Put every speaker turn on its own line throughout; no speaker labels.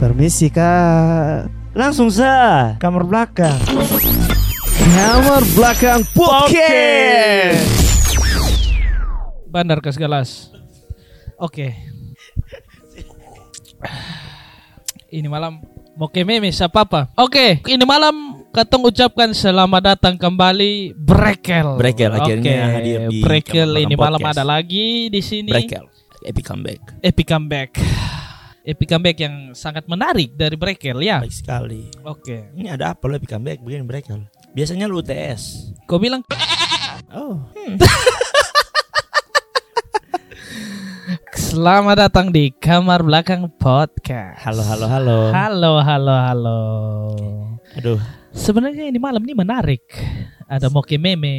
Permisi kak. Langsung sa.
Kamar belakang.
Kamar belakang podcast.
Podcast.
Bandar Kas Galas. Oke. Ini malam mau ke meme siapa apa? Oke, ini malam katong ucapkan selamat datang kembali Brekel.
Brekel, akhirnya
Oke,
hadir di
Brekel
Kampung
ini malam
Podcast.
ada lagi di sini.
Brekel. Epic comeback.
Epic comeback. Epic comeback yang sangat menarik dari Brekel ya.
Baik Ah, sekali.
Oke.
Ini ada apa lo epic comeback begini Brekel? Biasanya lu UTS.
Kau bilang
Oh.
selamat datang di kamar belakang podcast.
Halo halo halo.
Halo, halo, halo.
Aduh,
Sebenarnya ini malam ini menarik. Ada moke meme,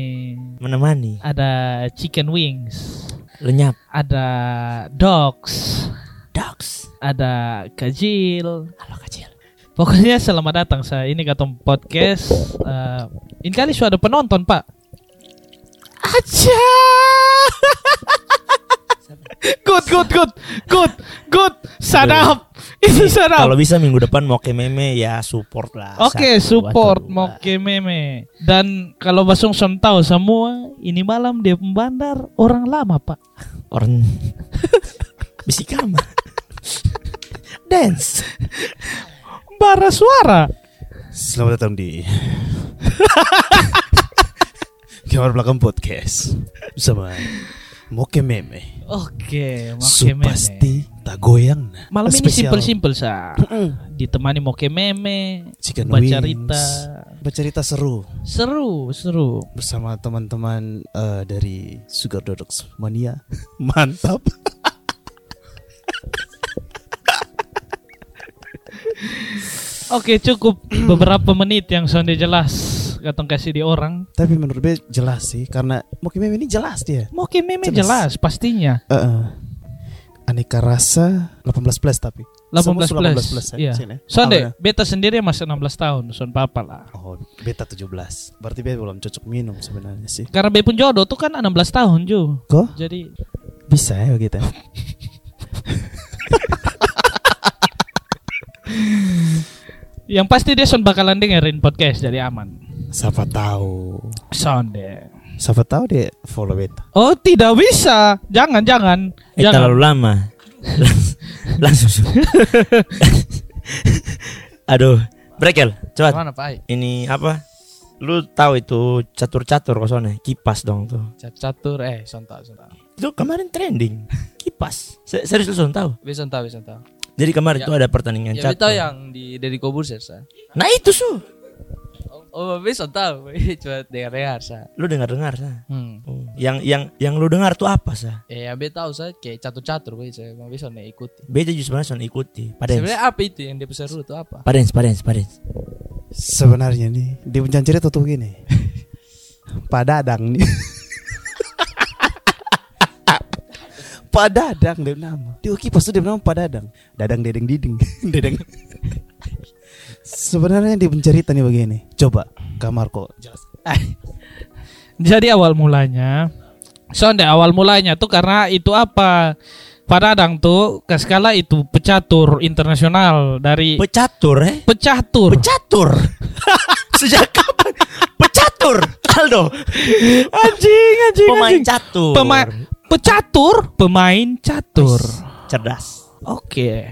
menemani,
ada chicken wings,
lenyap.
ada dogs,
Dogs.
ada kajil.
Halo kecil.
Pokoknya selamat datang saya ini Gatom Podcast. Eh, ini kali sudah ada penonton, Pak. Aja. good, good, good, good, good. Sadap. Itu sadap.
Kalau bisa minggu depan mau ke meme ya support lah.
Oke,
Satu,
support
atau dua.
Moke Meme. Dan kalau Basung Son tahu semua, ini malam dia pembandar orang lama, Pak.
Orang bisikama. Dance.
Bara suara.
Selamat datang di Kamar belakang podcast bersama Moke Meme.
Oke, Moke
Su
Meme.
pasti tak goyang nah.
Malam ini
Spesial
simpel-simpel sa. Ditemani Moke Meme,
Chicken
baca
wings.
cerita.
Bercerita seru
Seru, seru.
bersama teman-teman eh, dari Sugar Dodox Mania. Mantap.
Oke, cukup beberapa menit yang sonde jelas katong kasih di orang.
Tapi menurut gue jelas sih karena Moke Meme ini jelas dia.
Moke Meme jelas,
Jelas.
pastinya.
Eh, eh. Aneka rasa 18 plus tapi.
18
Semua
plus.
18 plus, ya,
Iya.
sini.
Sonde,
Awalnya.
beta sendiri masih 16 tahun, son papa lah.
Oh, beta 17. Berarti beta belum cocok minum sebenarnya sih.
Karena B pun jodoh tuh kan 16 tahun Ju
Kok
Jadi
bisa ya begitu?
yang pasti dia son bakalan dengerin podcast jadi aman
Siapa tahu.
Sound deh
Siapa tahu dia follow beta.
Oh tidak bisa Jangan jangan
Eh,
Jangan
terlalu lama. Langs- Langsung. su- Aduh, Brekel, cepat.
Mana Pak?
ini apa lu tahu itu catur-catur kosongnya kipas dong tuh
catur eh sontak sontak
itu kemarin trending kipas Se- serius lu Son, tahu
bisa sontak bisa sontak
jadi kemarin
Ya.
itu ada pertandingan
ya
catur
tahu yang di dari kubur sih sa
nah itu su
oh bisa tahu cuma dengar dengar sa
lu dengar dengar sah
hmm
yang yang yang lu dengar tuh apa sah
ya yang tahu sa kayak catur catur gue sa mau bisa nih ikuti
beda justru sebenarnya Son, ikuti padens
sebenarnya apa itu yang dia peseru itu apa
padens padens padens
Sebenarnya nih, di pencan cerita tuh gini. Pak Dadang nih. Pak Dadang dia nama. Di kipas tuh dia nama Pak Dadang. Dadang Dedeng Diding. Dedeng. Sebenarnya di pencerita nih begini. Coba kamar kok.
Jadi awal mulanya Sound deh awal mulanya tuh karena itu apa Padadang tuh Kaskala itu pecatur internasional Dari
pecatur eh
pecatur
pecatur sejak kapan pecatur Aldo
Anjing anjing
pemain
anjing
catur
Pema- Pecatur Pemain catur
cerdas
Oke.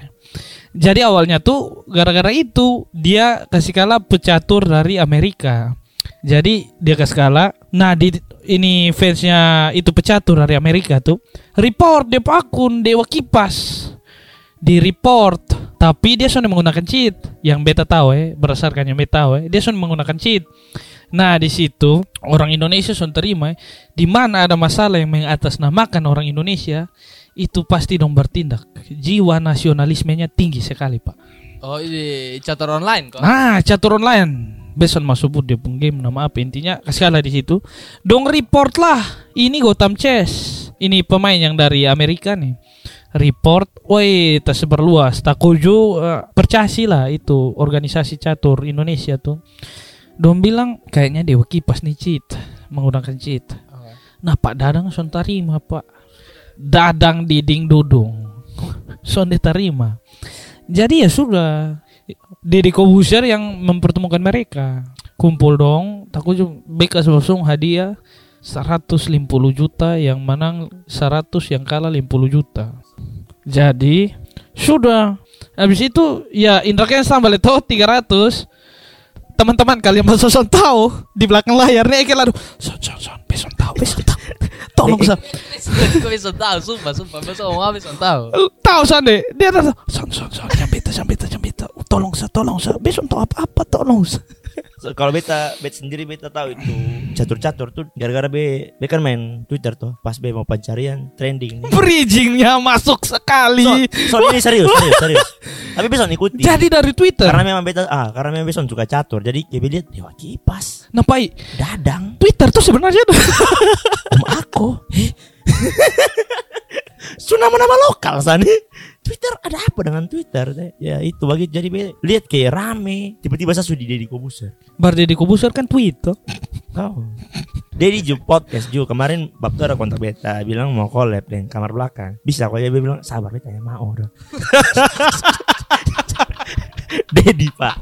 Jadi awalnya tuh gara-gara itu dia kasih kalah pecatur dari Amerika. Jadi dia kasih kalah. Nah di ini fansnya itu pecatur dari Amerika tuh report dia punya akun Dewa Kipas di report tapi dia sudah menggunakan cheat yang beta tahu ya berdasarkan yang beta tahu ya dia sudah menggunakan cheat nah di situ orang Indonesia sudah terima ya, di mana ada masalah yang mengatasnamakan orang Indonesia itu pasti dong bertindak jiwa nasionalismenya tinggi sekali pak
oh ini catur online kok
Nah, catur online. Besok mau sebut dia pun game nama apa intinya kasih kalah di situ. Dong report lah. Ini Gotham Chess. Ini pemain yang dari Amerika nih. Report, woi, tak seberluas. Takuju percasi lah itu organisasi catur Indonesia tuh. Dong bilang kayaknya Dewa Kipas nih cheat, menggunakan cheat.
Oh.
Nah, Pak Dadang son tarima, Pak. Dadang diding dudung. Son diterima. Jadi ya sudah. Deddy Kobusier yang mempertemukan mereka. Kumpul dong, takut juga bekas langsung hadiah 150 juta yang menang 100 yang kalah 50 juta. Jadi sudah. Habis itu ya Indra Kensang balik tahu 300 teman-teman kalian mau soson tahu di belakang layarnya kayak aduh son son son beson tahu beson tahu tolong son
Kau bisa tahu, sumpah, sumpah. Besok mau habis tahu.
eh, tahu son deh dia tahu son son son sampai itu sampai itu sampai itu tolong sa tolong sa beson tahu apa apa tolong sa
So, kalau beta, bet sendiri beta tahu itu catur-catur tuh gara-gara be, be kan main Twitter tuh. Pas be mau pencarian trending.
bridgingnya masuk sekali
So, so ini serius, serius, serius. Tapi Beson ikuti.
jadi dari Twitter
karena memang beta ah karena memang Beson suka catur. Jadi dia lihat dewa kipas,
nah Pai,
dadang,
Twitter tuh sebenarnya
om aku. Heh. Sudah nama-nama lokal sana. Twitter ada apa dengan Twitter? teh? Ya itu bagi jadi be, lihat kayak rame. Tiba-tiba saya sudah jadi kobuser.
Bar Deddy Kobusier kan Twitter
Tahu. Dedi Ju podcast Ju kemarin Bab tuh ada kontak beta bilang mau collab dengan kamar belakang. Bisa kok ya dia bilang sabar beta ya mau udah. Dedi Pak.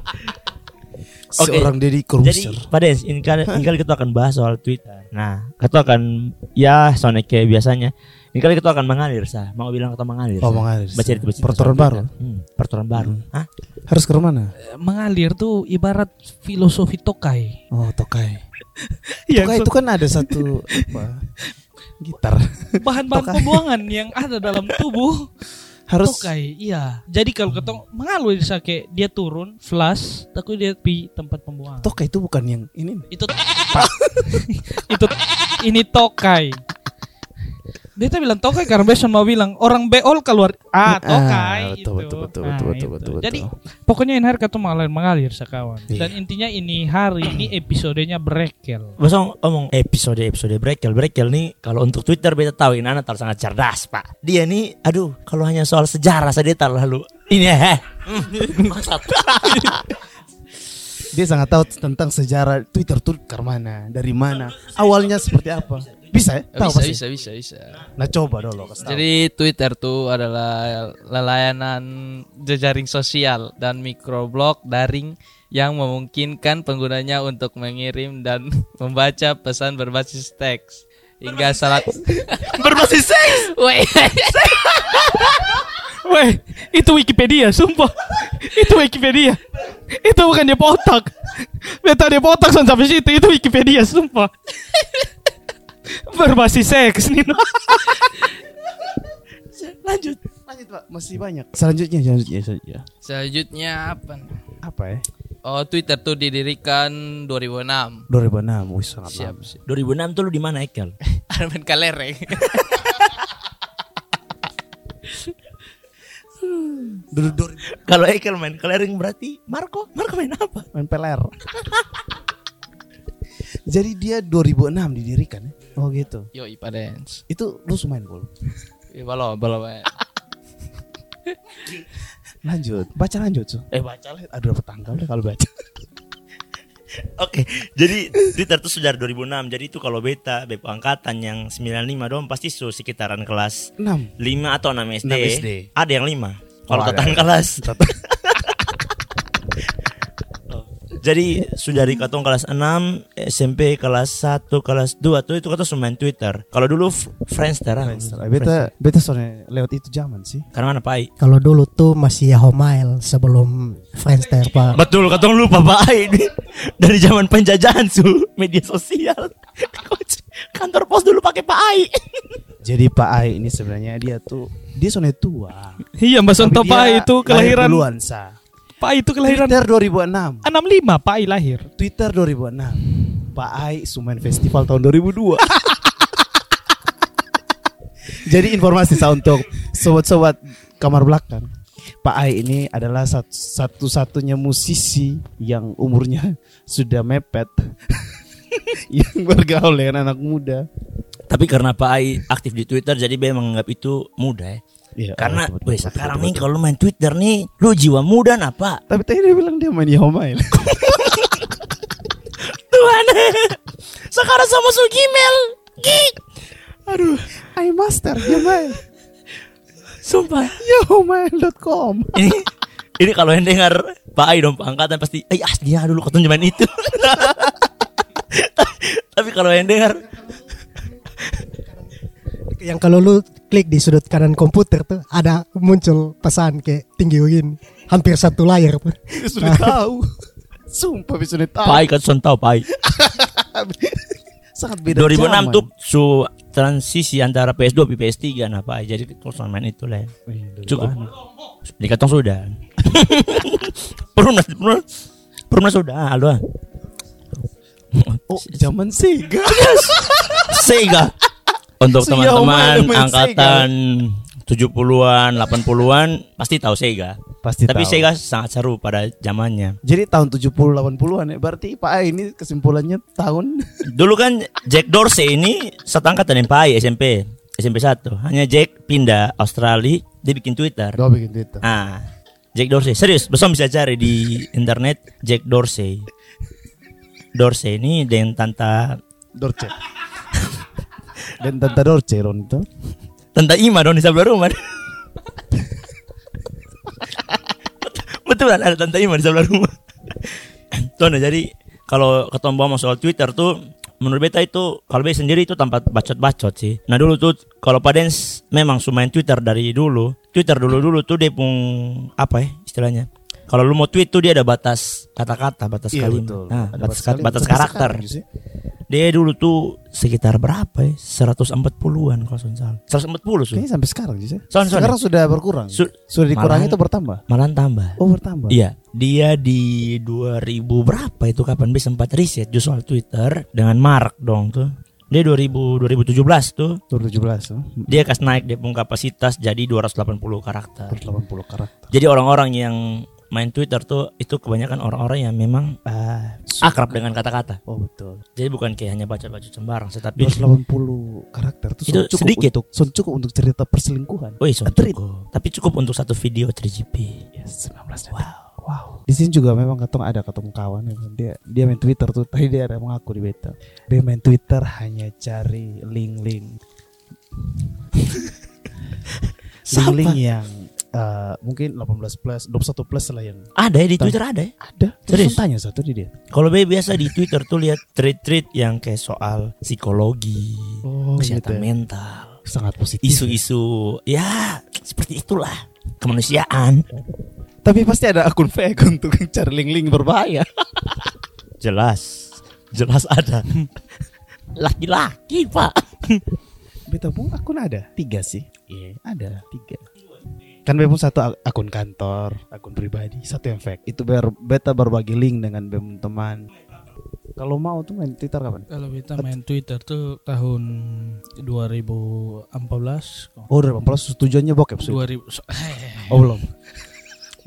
Oke.
Seorang Deddy
Jadi
Corbuzier.
pada in kali in kali kita akan bahas soal Twitter. Nah, kita akan ya Sonic kayak biasanya. Ini kali kita akan mengalir sah. Mau bilang kita mengalir.
Oh,
Sah.
mengalir, Sah.
Baca cerita- baca cerita
Peraturan
soal
baru.
Twitter. Hmm, peraturan baru. Hah?
Harus ke mana?
Eh, mengalir tuh ibarat filosofi tokai
Oh, Tokai.
Yang
Tokai
Iya, so-
itu kan ada satu apa? Gitar.
bahan-bahan
Tokai.
pembuangan yang ada dalam tubuh
Harus
tokai iya jadi kalau ketong mengalu di sake dia turun flash takut dia pi tempat pembuangan
Tokai itu bukan yang ini. nih.
itu itu ini tokai dia tuh bilang tokai karena Beson mau bilang orang beol keluar ah tokai
Ah, betul,
gitu.
betul, betul,
Nah,
betul, betul,
itu.
betul, betul.
jadi pokoknya ini hari kata mengalir mengalir sekawan
Iya.
dan intinya ini hari ini episodenya brekel
Bosong omong episode episode brekel brekel nih kalau untuk Twitter beta tahu ini anak terlalu sangat cerdas pak. Dia nih aduh kalau hanya soal sejarah saja dia terlalu ini eh, heh. Maksud.
Dia sangat tahu tentang sejarah Twitter tuh ke mana, dari mana, awalnya seperti apa. Bisa ya? Tahu
Bisa,
pasti.
bisa, bisa, bisa.
Nah, coba dulu kasih tahu.
Jadi Twitter tuh adalah layanan jejaring sosial dan microblog daring yang memungkinkan penggunanya untuk mengirim dan membaca pesan berbasis teks hingga salat
Berbasis seks.
Weh,
Weh, itu Wikipedia, sumpah. itu Wikipedia. Itu bukan dia otak. Beta dia otak son sampai situ, itu Wikipedia, sumpah. Berbasis seks nih.
Lanjut. Lanjut, Pak. Masih banyak. Hmm. Selanjutnya, selanjutnya,
Iya,
selanjutnya.
selanjutnya apa nih?
Apa ya?
Oh, Twitter tuh didirikan 2006.
2006, wih sangat
Siap,
lama.
siap.
2006 tuh lu di mana Ekel?
Armin Kalereng.
2000
Kalau Ekel main kelereng berarti Marco Marco main apa?
main peler. Jadi dia 2006 didirikan ya. Oh gitu.
Yo, Ipadens.
Itu lu main belum?
Ya, balo, balo. weh.
Lanjut. Baca lanjut, Su.
Eh baca lah.
Aduh dapat tanggal deh kalau baca.
Oke, jadi Twitter tuh sudah 2006. Jadi itu kalau beta beb angkatan yang 95 dong pasti su sekitaran kelas
6.
5 atau 6 SD.
6 SD.
Ada yang 5. Kalau
Oh, ada.
tatan kelas. Oh. Jadi sudah dari katong kelas 6 SMP kelas 1 kelas 2 tuh itu kata sudah main Twitter. Kalau dulu f- Friendster. ah. Friendster.
Eh, Beta beta soalnya lewat itu zaman sih.
Karena mana Pak?
Kalau dulu tuh masih Yahoo Mail sebelum Friendster pak.
Betul katong lupa Pak ini. Dari zaman penjajahan su media sosial. Kantor pos dulu pakai Pak Ai.
Jadi Pak Ai ini sebenarnya dia tuh dia soalnya tua.
Iya, Mbak Son
Tapi
Pak
dia
itu
lahir
kelahiran
duluan, Sa.
Pak itu kelahiran
Twitter 2006.
65 Pak I lahir.
Ah, Twitter 2006. Pak Ai Sumen Festival tahun 2002. Jadi informasi saya untuk sobat-sobat kamar belakang. Pak Ai ini adalah sat- satu-satunya musisi yang umurnya sudah mepet. yang bergaul dengan anak muda.
Tapi karena Pak Ai aktif di Twitter jadi dia menganggap itu muda ya.
Iya,
Karena
betul, betul,
weh,
betul,
sekarang
betul,
nih kalau main Twitter nih lu jiwa muda apa?
Tapi tadi dia bilang dia main Yahoo Mail.
Tuhan. sekarang sama su Gmail. Gih.
Aduh, ya, I master dia main.
Sumpah.
Ya, Yahoo Mail.com.
Ini Ini kalau yang dengar Pak Ai dong angkatan pasti, eh aslinya dulu kau tunjukin itu. Ta- Tapi kalau yang dengar,
Yang kalau lu klik di sudut kanan komputer tuh ada muncul pesan kayak tinggi begini. Hampir satu layar.
sudah tahu. Sumpah bisa
Pak
tahu.
Ai kan tahu Pak Ai.
Sangat beda
2006
zaman.
tuh su transisi antara PS2 ke PS3 nah Pak Ai. Jadi terus main itu lah. ya. Cukup. Dikatong sudah. Perumnas, perumnas, perumnas sudah, Ah, Aldo.
Oh, zaman Sega.
Sega. Untuk
Si Yahoo
teman-teman
main
angkatan 70-an, 80-an pasti tahu Sega.
Pasti
Tapi
tahu.
Sega sangat seru pada zamannya.
Jadi tahun 70 80-an ya. Berarti Pak A ini kesimpulannya tahun
Dulu kan Jack Dorsey ini satu angkatan yang Pai SMP, SMP 1. Hanya Jack pindah Australia, dia bikin Twitter.
Gua bikin Twitter.
Ah, Jack Dorsey. Serius, besok bisa cari di internet Jack Dorsey. Dorsey ini dengan tanta
Dorce. Dan tante Dorce Ron itu.
tanta Ima dong di sebelah rumah. Betul ada tanta Ima di sebelah rumah. Tuh, nah, jadi kalau ketemu sama soal Twitter tuh menurut beta itu kalau beta sendiri itu tempat bacot-bacot sih. Nah dulu tuh kalau Padens memang sumain Twitter dari dulu. Twitter dulu-dulu tuh dia pung apa ya istilahnya? Kalau lu mau tweet tuh dia ada batas kata-kata, batas kalimat. Nah,
Iya,
batas,
Ada
batas,
kalimat.
karakter.
Sekarang sih.
Dia dulu tuh sekitar berapa ya? 140-an kalau saya salah. 140 sudah.
Kayaknya sampai sekarang sih.
Soalnya-
Sekarang sudah berkurang.
Su-
sudah dikurangi
Malahan-
atau bertambah?
Malahan tambah.
Oh, bertambah.
Iya, dia di 2000 berapa itu kapan dia sempat riset justru soal Twitter dengan Mark dong tuh. Dia 2000 2017 tuh
2017 huh?
dia kas naik dia pun kapasitas jadi 280 karakter.
180 karakter.
Jadi orang-orang yang main Twitter tuh itu kebanyakan orang-orang yang memang
Ah, su-
akrab dengan kata-kata.
oh betul.
Jadi bukan kayak hanya baca-baca sembarang, tetapi
280 karakter itu, Oh,
Itu sedikit.
untuk son cukup untuk cerita perselingkuhan.
Woi, so
Atrit.
cukup. Tapi cukup untuk satu video 3GP.
Yes, 19 Wow. Wow. Di sini juga memang ketong ada ketemu kawan ya kan. Dia dia main Twitter tuh. Tadi dia ada mengaku di beta. Dia main Twitter hanya cari link-link.
Siapa?
link-link yang eh, mungkin 18 plus, 21 plus lah yang
Ada ya di Twitter ada ya.
ada. Terus
Serius?
tanya satu di dia.
Kalau be biasa di Twitter tuh lihat tweet-tweet yang kayak soal psikologi,
Oh,
kesehatan
gitu ya.
mental,
Sangat positif.
isu-isu ya seperti itulah kemanusiaan.
Tapi pasti ada akun fake untuk cari link-link berbahaya.
Jelas, jelas ada. Laki-laki pak.
Beta pun akun ada tiga sih. Iya ada tiga. Kan Beta pun satu ak- akun kantor, akun pribadi, satu yang fake. Itu ber Beta berbagi link dengan Beta teman. Kalau mau tuh main Twitter kapan?
Kalau kita main Twitter tuh tahun 2014
Oh, udah Bang Plus tujuannya bokep sih.
2000 so-
Oh, belum.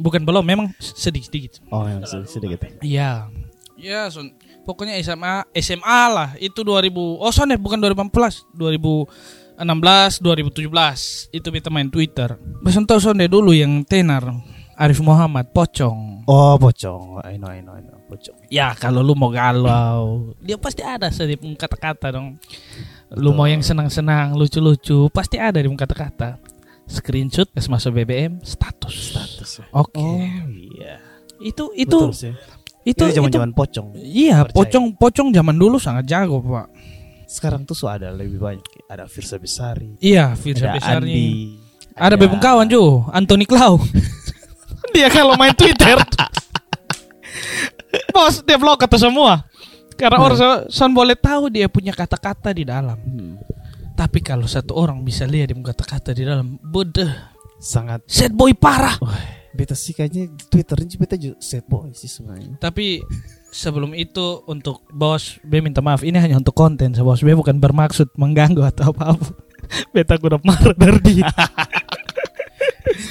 bukan belum memang sedikit-sedikit.
Oh, yang sed- sedikit.
Iya. Iya, Son. Pokoknya SMA SMA lah itu 2000. Oh, Son ya, bukan 2014, 2016, 2017 itu kita main Twitter. Besan tahu Son deh dulu yang tenar Arif Muhammad pocong.
Oh, pocong. I know, I know, I know. Pocong.
Ya, kalau lu mau galau, dia pasti ada sedih kata-kata dong. Lu mau yang senang-senang, lucu-lucu, pasti ada di kata-kata. Screenshot, terus masuk BBM, status. Oke.
iya.
Itu itu
Betul sih.
itu
Itu
itu,
zaman-zaman pocong.
Iya,
Percaya.
pocong pocong zaman dulu sangat jago, Pak.
Sekarang tuh so ada lebih banyak. Ada Firsa Besari,
Iya, Firza
ada
Besari.
Andi.
Ada bebeng kawan Jo, Anthony Klau. Dia kalau main Twitter Bos, dia blok kata semua. Karena orang so- son boleh tahu dia punya kata-kata di dalam.
Hmm.
Tapi kalau satu orang bisa lihat dia punya kata-kata di dalam, bedeh,
Sangat
sad boy parah.
beta sih kayaknya di Twitter ini beta juga sad boy sih sebenarnya.
Tapi sebelum itu untuk bos B minta maaf ini hanya untuk konten so, bos B bukan bermaksud mengganggu atau apa apa beta udah marah dari dia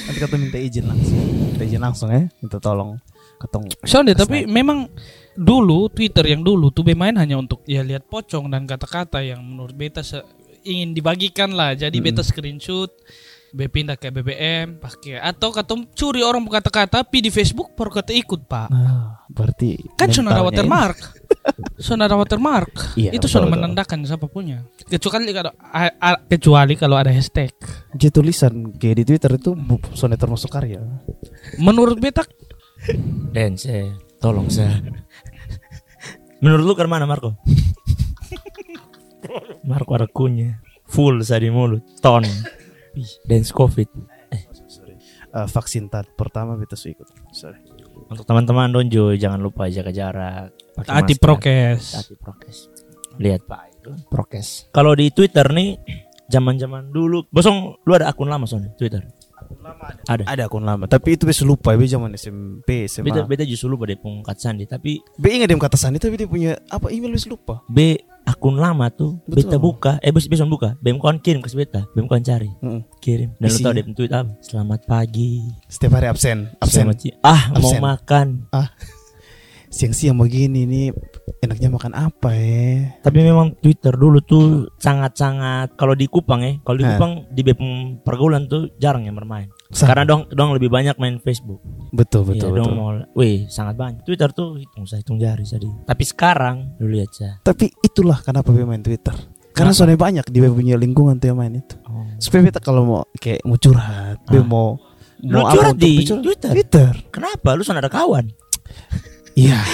Nanti kata minta izin langsung. Minta izin langsung ya, minta tolong ketong.
Soalnya tapi memang dulu Twitter yang dulu tuh B main hanya untuk ya lihat pocong dan kata-kata yang menurut beta se- ingin dibagikan lah jadi beta screenshot B pindah ke BBM pakai atau katum curi orang kata-kata pi di Facebook baru kata ikut pak
Ah, Berarti
Kan sonora
mentalnya ya.
watermark. sonora watermark.
Iya,
itu sudah
betul, betul.
menandakan siapa punya. Kecuali kalau a- a- kecuali kalau ada hashtag.
ini. Dia tulisan kayak di Twitter itu bu- sonnet termasuk karya.
Menurut Betak
Dan saya tolong saya. Menurut lu kan mana Marco? Marco ada kunya. Full saya di mulut. Ton. Ih, Dance covid.
Eh, vaksin tat pertama beta su ikut. Sorry.
Untuk teman-teman donjo jangan lupa jaga jarak. pakai
taati
masker,
prokes.
Taati prokes. Lihat Pak itu prokes. Kalau di Twitter nih zaman-zaman dulu. Bosong lu ada akun lama soalnya Twitter. Ada.
Ada akun lama, tapi itu bisa lupa ya be zaman SMP, SMA.
Beta, beta justru lupa deh pungkat sandi tapi
Be ingat dia kata Sandi tapi dia punya apa email bisa lupa.
B akun lama tuh beta
Betul.
buka eh bos besok buka BM kon kirim ke beta BM kon cari
Mm-mm.
kirim dan lu
Isinya.
tau dia tweet apa selamat pagi
Setiap hari absen, absen.
selamat si- ah mau
Absen.
makan
ah siang-siang begini nih enaknya makan apa ya
tapi memang Twitter dulu tuh sangat-sangat kalau di Kupang ya kalau di
Eh.
Kupang di BEM pergaulan tuh jarang yang bermain
Sama.
karena dong dong lebih banyak main Facebook
betul betul
Iya, dong
betul
mau weh sangat banyak Twitter tuh hitung saya hitung jari tadi tapi sekarang lu lihat saya
tapi itulah kenapa gue main Twitter
Kenapa?
karena soalnya banyak di gue punya lingkungan tuh yang main itu
Oh.
supaya beta kalau mau kayak mau curhat gue
Ah.
mau
Lu
mau
curhat
apa
di
untuk curhat?
Twitter?
Twitter
kenapa lu sana ada kawan
iya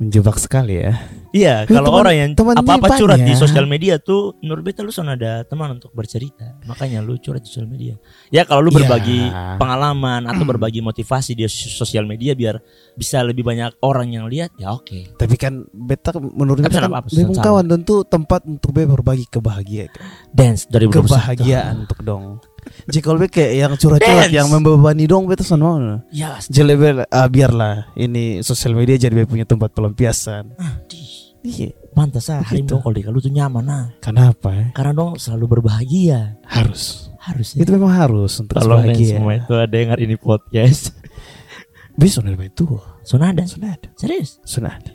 menjebak sekali ya
Iya,
Lu
kalau
teman-
orang yang
teman
apa-apa
jebakan
curhat di
ya.
sosial media tuh menurut beta lu sana ada teman untuk bercerita. Makanya lu curhat di sosial media. Ya kalau lu
Iya.
berbagi pengalaman atau berbagi motivasi di sos- sosial media biar bisa lebih banyak orang yang lihat, ya oke.
tapi kan beta menurut
Tapi
beta kan
kenapa?
memang
Salah.
kawan tentu tempat untuk be berbagi kebahagiaan
Dance 2021.
kebahagiaan untuk dong jika lebih kayak yang curhat-curhat
Dance.
yang membebani dong beta son mau no.
Ya,
Jelebel ah, biarlah ini sosial media jadi beta punya tempat pelampiasan.
Ah, sedih.
Iya.
Pantas ah, Harim
Begitu.
dong kalau di- kalau lu tuh nyaman nah.
Kenapa? ya?
Karena dong selalu berbahagia.
Harus.
Harus ya.
Itu memang harus untuk bahagia.
itu ada yang dengar ini podcast.
Bisa dari itu.
Sonada.
Sunat.
Serius?
Sunat.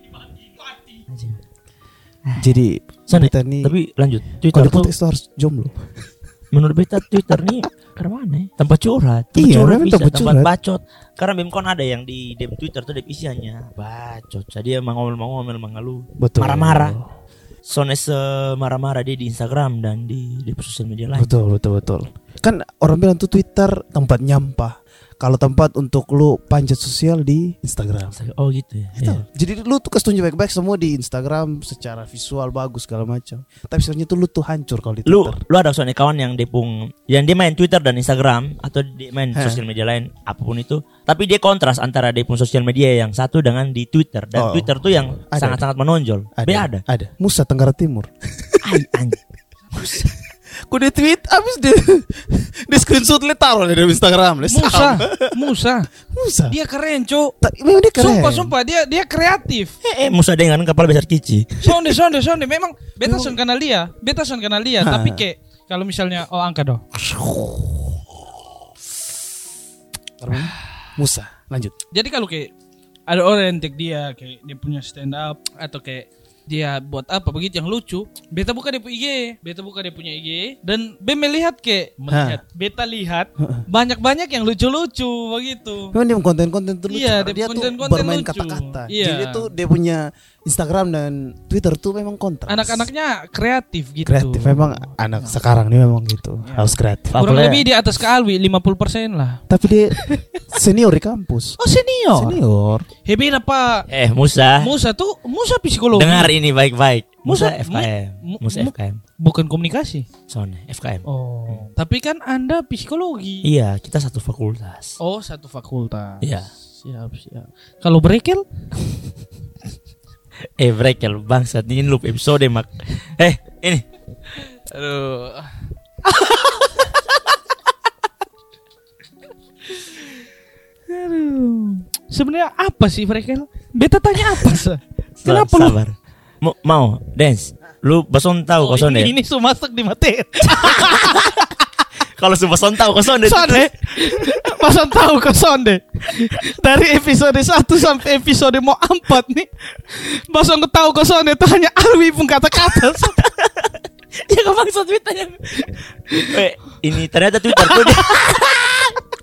Jadi
Sana,
beta nih
Tapi lanjut.
kalau
Twitter
di
tuh
konteks itu harus jomblo.
menurut beta Twitter nih karena mana ya? tempat curhat tempat
Iya,
curhat
memang
bisa
tempat
tempat,
curhat.
bacot karena memkon ada yang di DM Twitter tuh ada isiannya bacot jadi emang ngomel-ngomel mengeluh
Betul.
marah-marah Sones eh, marah-marah dia di Instagram dan di di sosial media lain
Betul, betul, betul. Kan orang bilang tuh Twitter tempat nyampah. Kalau tempat untuk lu panjat sosial di Instagram.
Saya, oh gitu ya,
Gitu.
Iya.
Jadi lu tuh kasih tunjuk baik-baik semua di Instagram secara visual bagus segala macam. Tapi sebenarnya tuh lu tuh hancur kalau di
lu
Twitter.
lu ada soalnya kawan yang depung yang dia main Twitter dan Instagram atau dia main
Heh.
sosial media lain apapun itu tapi dia kontras antara dia pun sosial media yang satu dengan di Twitter dan
Oh.
Twitter tuh yang
Ada,
sangat-sangat menonjol dia ada
Ada. Musa Tenggara Timur.
Ai, anjing.
Ku di tweet abis dia di screenshot le taruh di Instagram le.
Musa, Musa.
Musa.
Dia keren, Cuk.
Ta- memang dia keren.
Sumpah, sumpah dia dia kreatif.
Eh, eh, Musa dengan kepala besar kici.
Sonde, sonde, sonde. Memang beta son kenal dia, beta son kenal dia. Tapi kayak kalau misalnya oh angka dong.
Musa. Lanjut.
Jadi kalau kayak ada orang yang tag dia kayak dia punya stand up atau kayak dia buat apa begitu yang lucu beta buka dia punya IG beta buka dia punya IG dan be melihat kayak melihat beta lihat banyak-banyak yang lucu-lucu begitu
Memang dia konten-konten tuh lucu.
Iya,
karena
dia
dia tuh
konten-konten
bermain
lucu.
kata-kata.
Iya.
Jadi tuh dia punya Instagram dan Twitter tuh memang kontras.
anak-anaknya kreatif gitu Iya.
kreatif memang anak sekarang ini memang gitu. Harus kreatif.
kurang
Apalagi-
lebih di atas ke Alwi 50% lah
Tapi dia senior di kampus.
oh senior
Senior.
Hebe apa
Eh, Musa.
Musa tuh Musa psikologi
Dengar ini baik-baik. Musa,
Musa-
FKM.
Mu-
Musa
Mu-
FKM.
bukan komunikasi
Sone, FKM.
oh tapi kan anda psikologi
Iya, kita satu fakultas.
Oh, satu fakultas.
Iya.
Siap, siap. Kalau Brekel?
Eh, brekel bangsat ini loop episode mak. Eh, ini.
Aduh.
Sebenarnya apa sih Brekel? Beta tanya apa sih? Kenapa
Sabar,
lu?
sabar. Mau, mau dance. Lu boson tahu ya?
Oh,
kau Sone?
ini, ini su masuk di materi.
Kalau su boson tahu kau Sone.
Sonde. Masa tahu ke Sonde? Dari episode 1 sampai episode mau 4 nih. Masa nggak tahu ke Sonde itu hanya Alwi pun kata-kata.
Ya kau bangsat Twitter. Eh, ini ternyata Twitter tuh dia.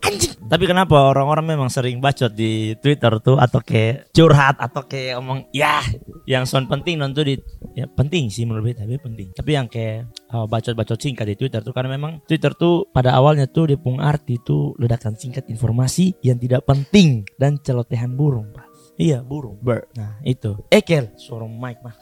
Anjing. Tapi kenapa orang-orang memang sering bacot di Twitter tuh atau kayak curhat atau kayak omong ya yang sound penting non tuh di ya penting sih menurut beta tapi penting. Tapi yang kayak oh, bacot-bacot singkat di Twitter tuh karena memang Twitter tuh pada awalnya tuh dia pung arti tuh ledakan singkat informasi yang tidak penting dan celotehan burung, Pak. Iya, burung. Nah, itu. Ekel, suara mic, Pak.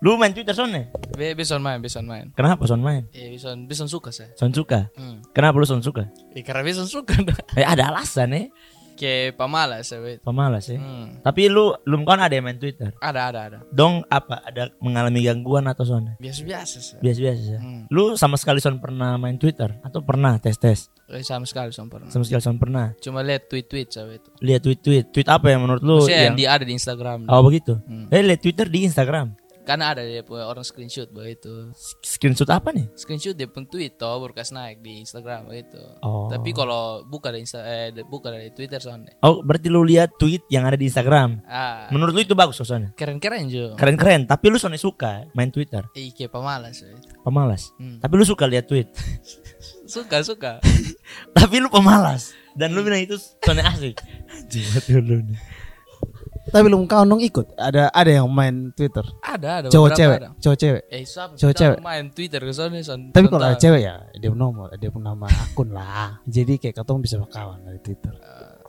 Lu main Twitter soalnya?
Be bison main, bison main.
Kenapa sound main?
Eh bison bison suka saya.
Sound suka.
Hmm.
Kenapa lu sound suka?
Eh karena bison suka dah.
Eh, ada alasan ya.
Kayak pemalas saya. bet.
Pemalas ya.
Hmm.
Tapi lu belum kan ada yang main Twitter.
Ada ada ada.
Dong apa ada mengalami gangguan atau soalnya?
Biasa biasa saya.
Biasa-biasa saja.
Hmm.
Lu sama sekali son pernah main Twitter atau pernah tes-tes?
Eh, sama sekali sama pernah.
Sama sekali son pernah.
Cuma lihat tweet-tweet saya itu.
Lihat tweet-tweet. Tweet apa yang menurut lu
Saya yang
yang
di ada di Instagram.
Oh begitu.
Hmm.
Eh lihat Twitter di Instagram.
Karena ada dia punya orang screenshot begitu.
Screenshot apa nih?
Screenshot dia pun tweet toh berkas naik di Instagram begitu.
Oh.
Tapi kalau buka dari Insta eh buka dari Twitter soalnya.
Oh, berarti lu lihat tweet yang ada di Instagram.
Ah,
Menurut lu itu bagus soalnya?
keren-keren Jo.
Keren-keren, tapi lu soalnya suka main Twitter.
Ih, kayak pemalas. saya.
Pemalas.
Hmm.
Tapi lu suka lihat tweet.
Suka, suka.
tapi lu pemalas dan lu bilang itu soalnya asik. Jilat
ya
dulu nih.
Tapi lu kawan dong ikut. Ada ada yang main Twitter.
ada, ada
Cowok
beberapa
cewek,
ada.
cowok cewek.
Eh, siapa?
Cowok
tahu
cewek.
main Twitter ke sana son.
Tapi kalau ada
Tentang-
cewek ya dia punya nomor, dia punya nama akun lah. Jadi kayak ketemu bisa berkawan dari Twitter.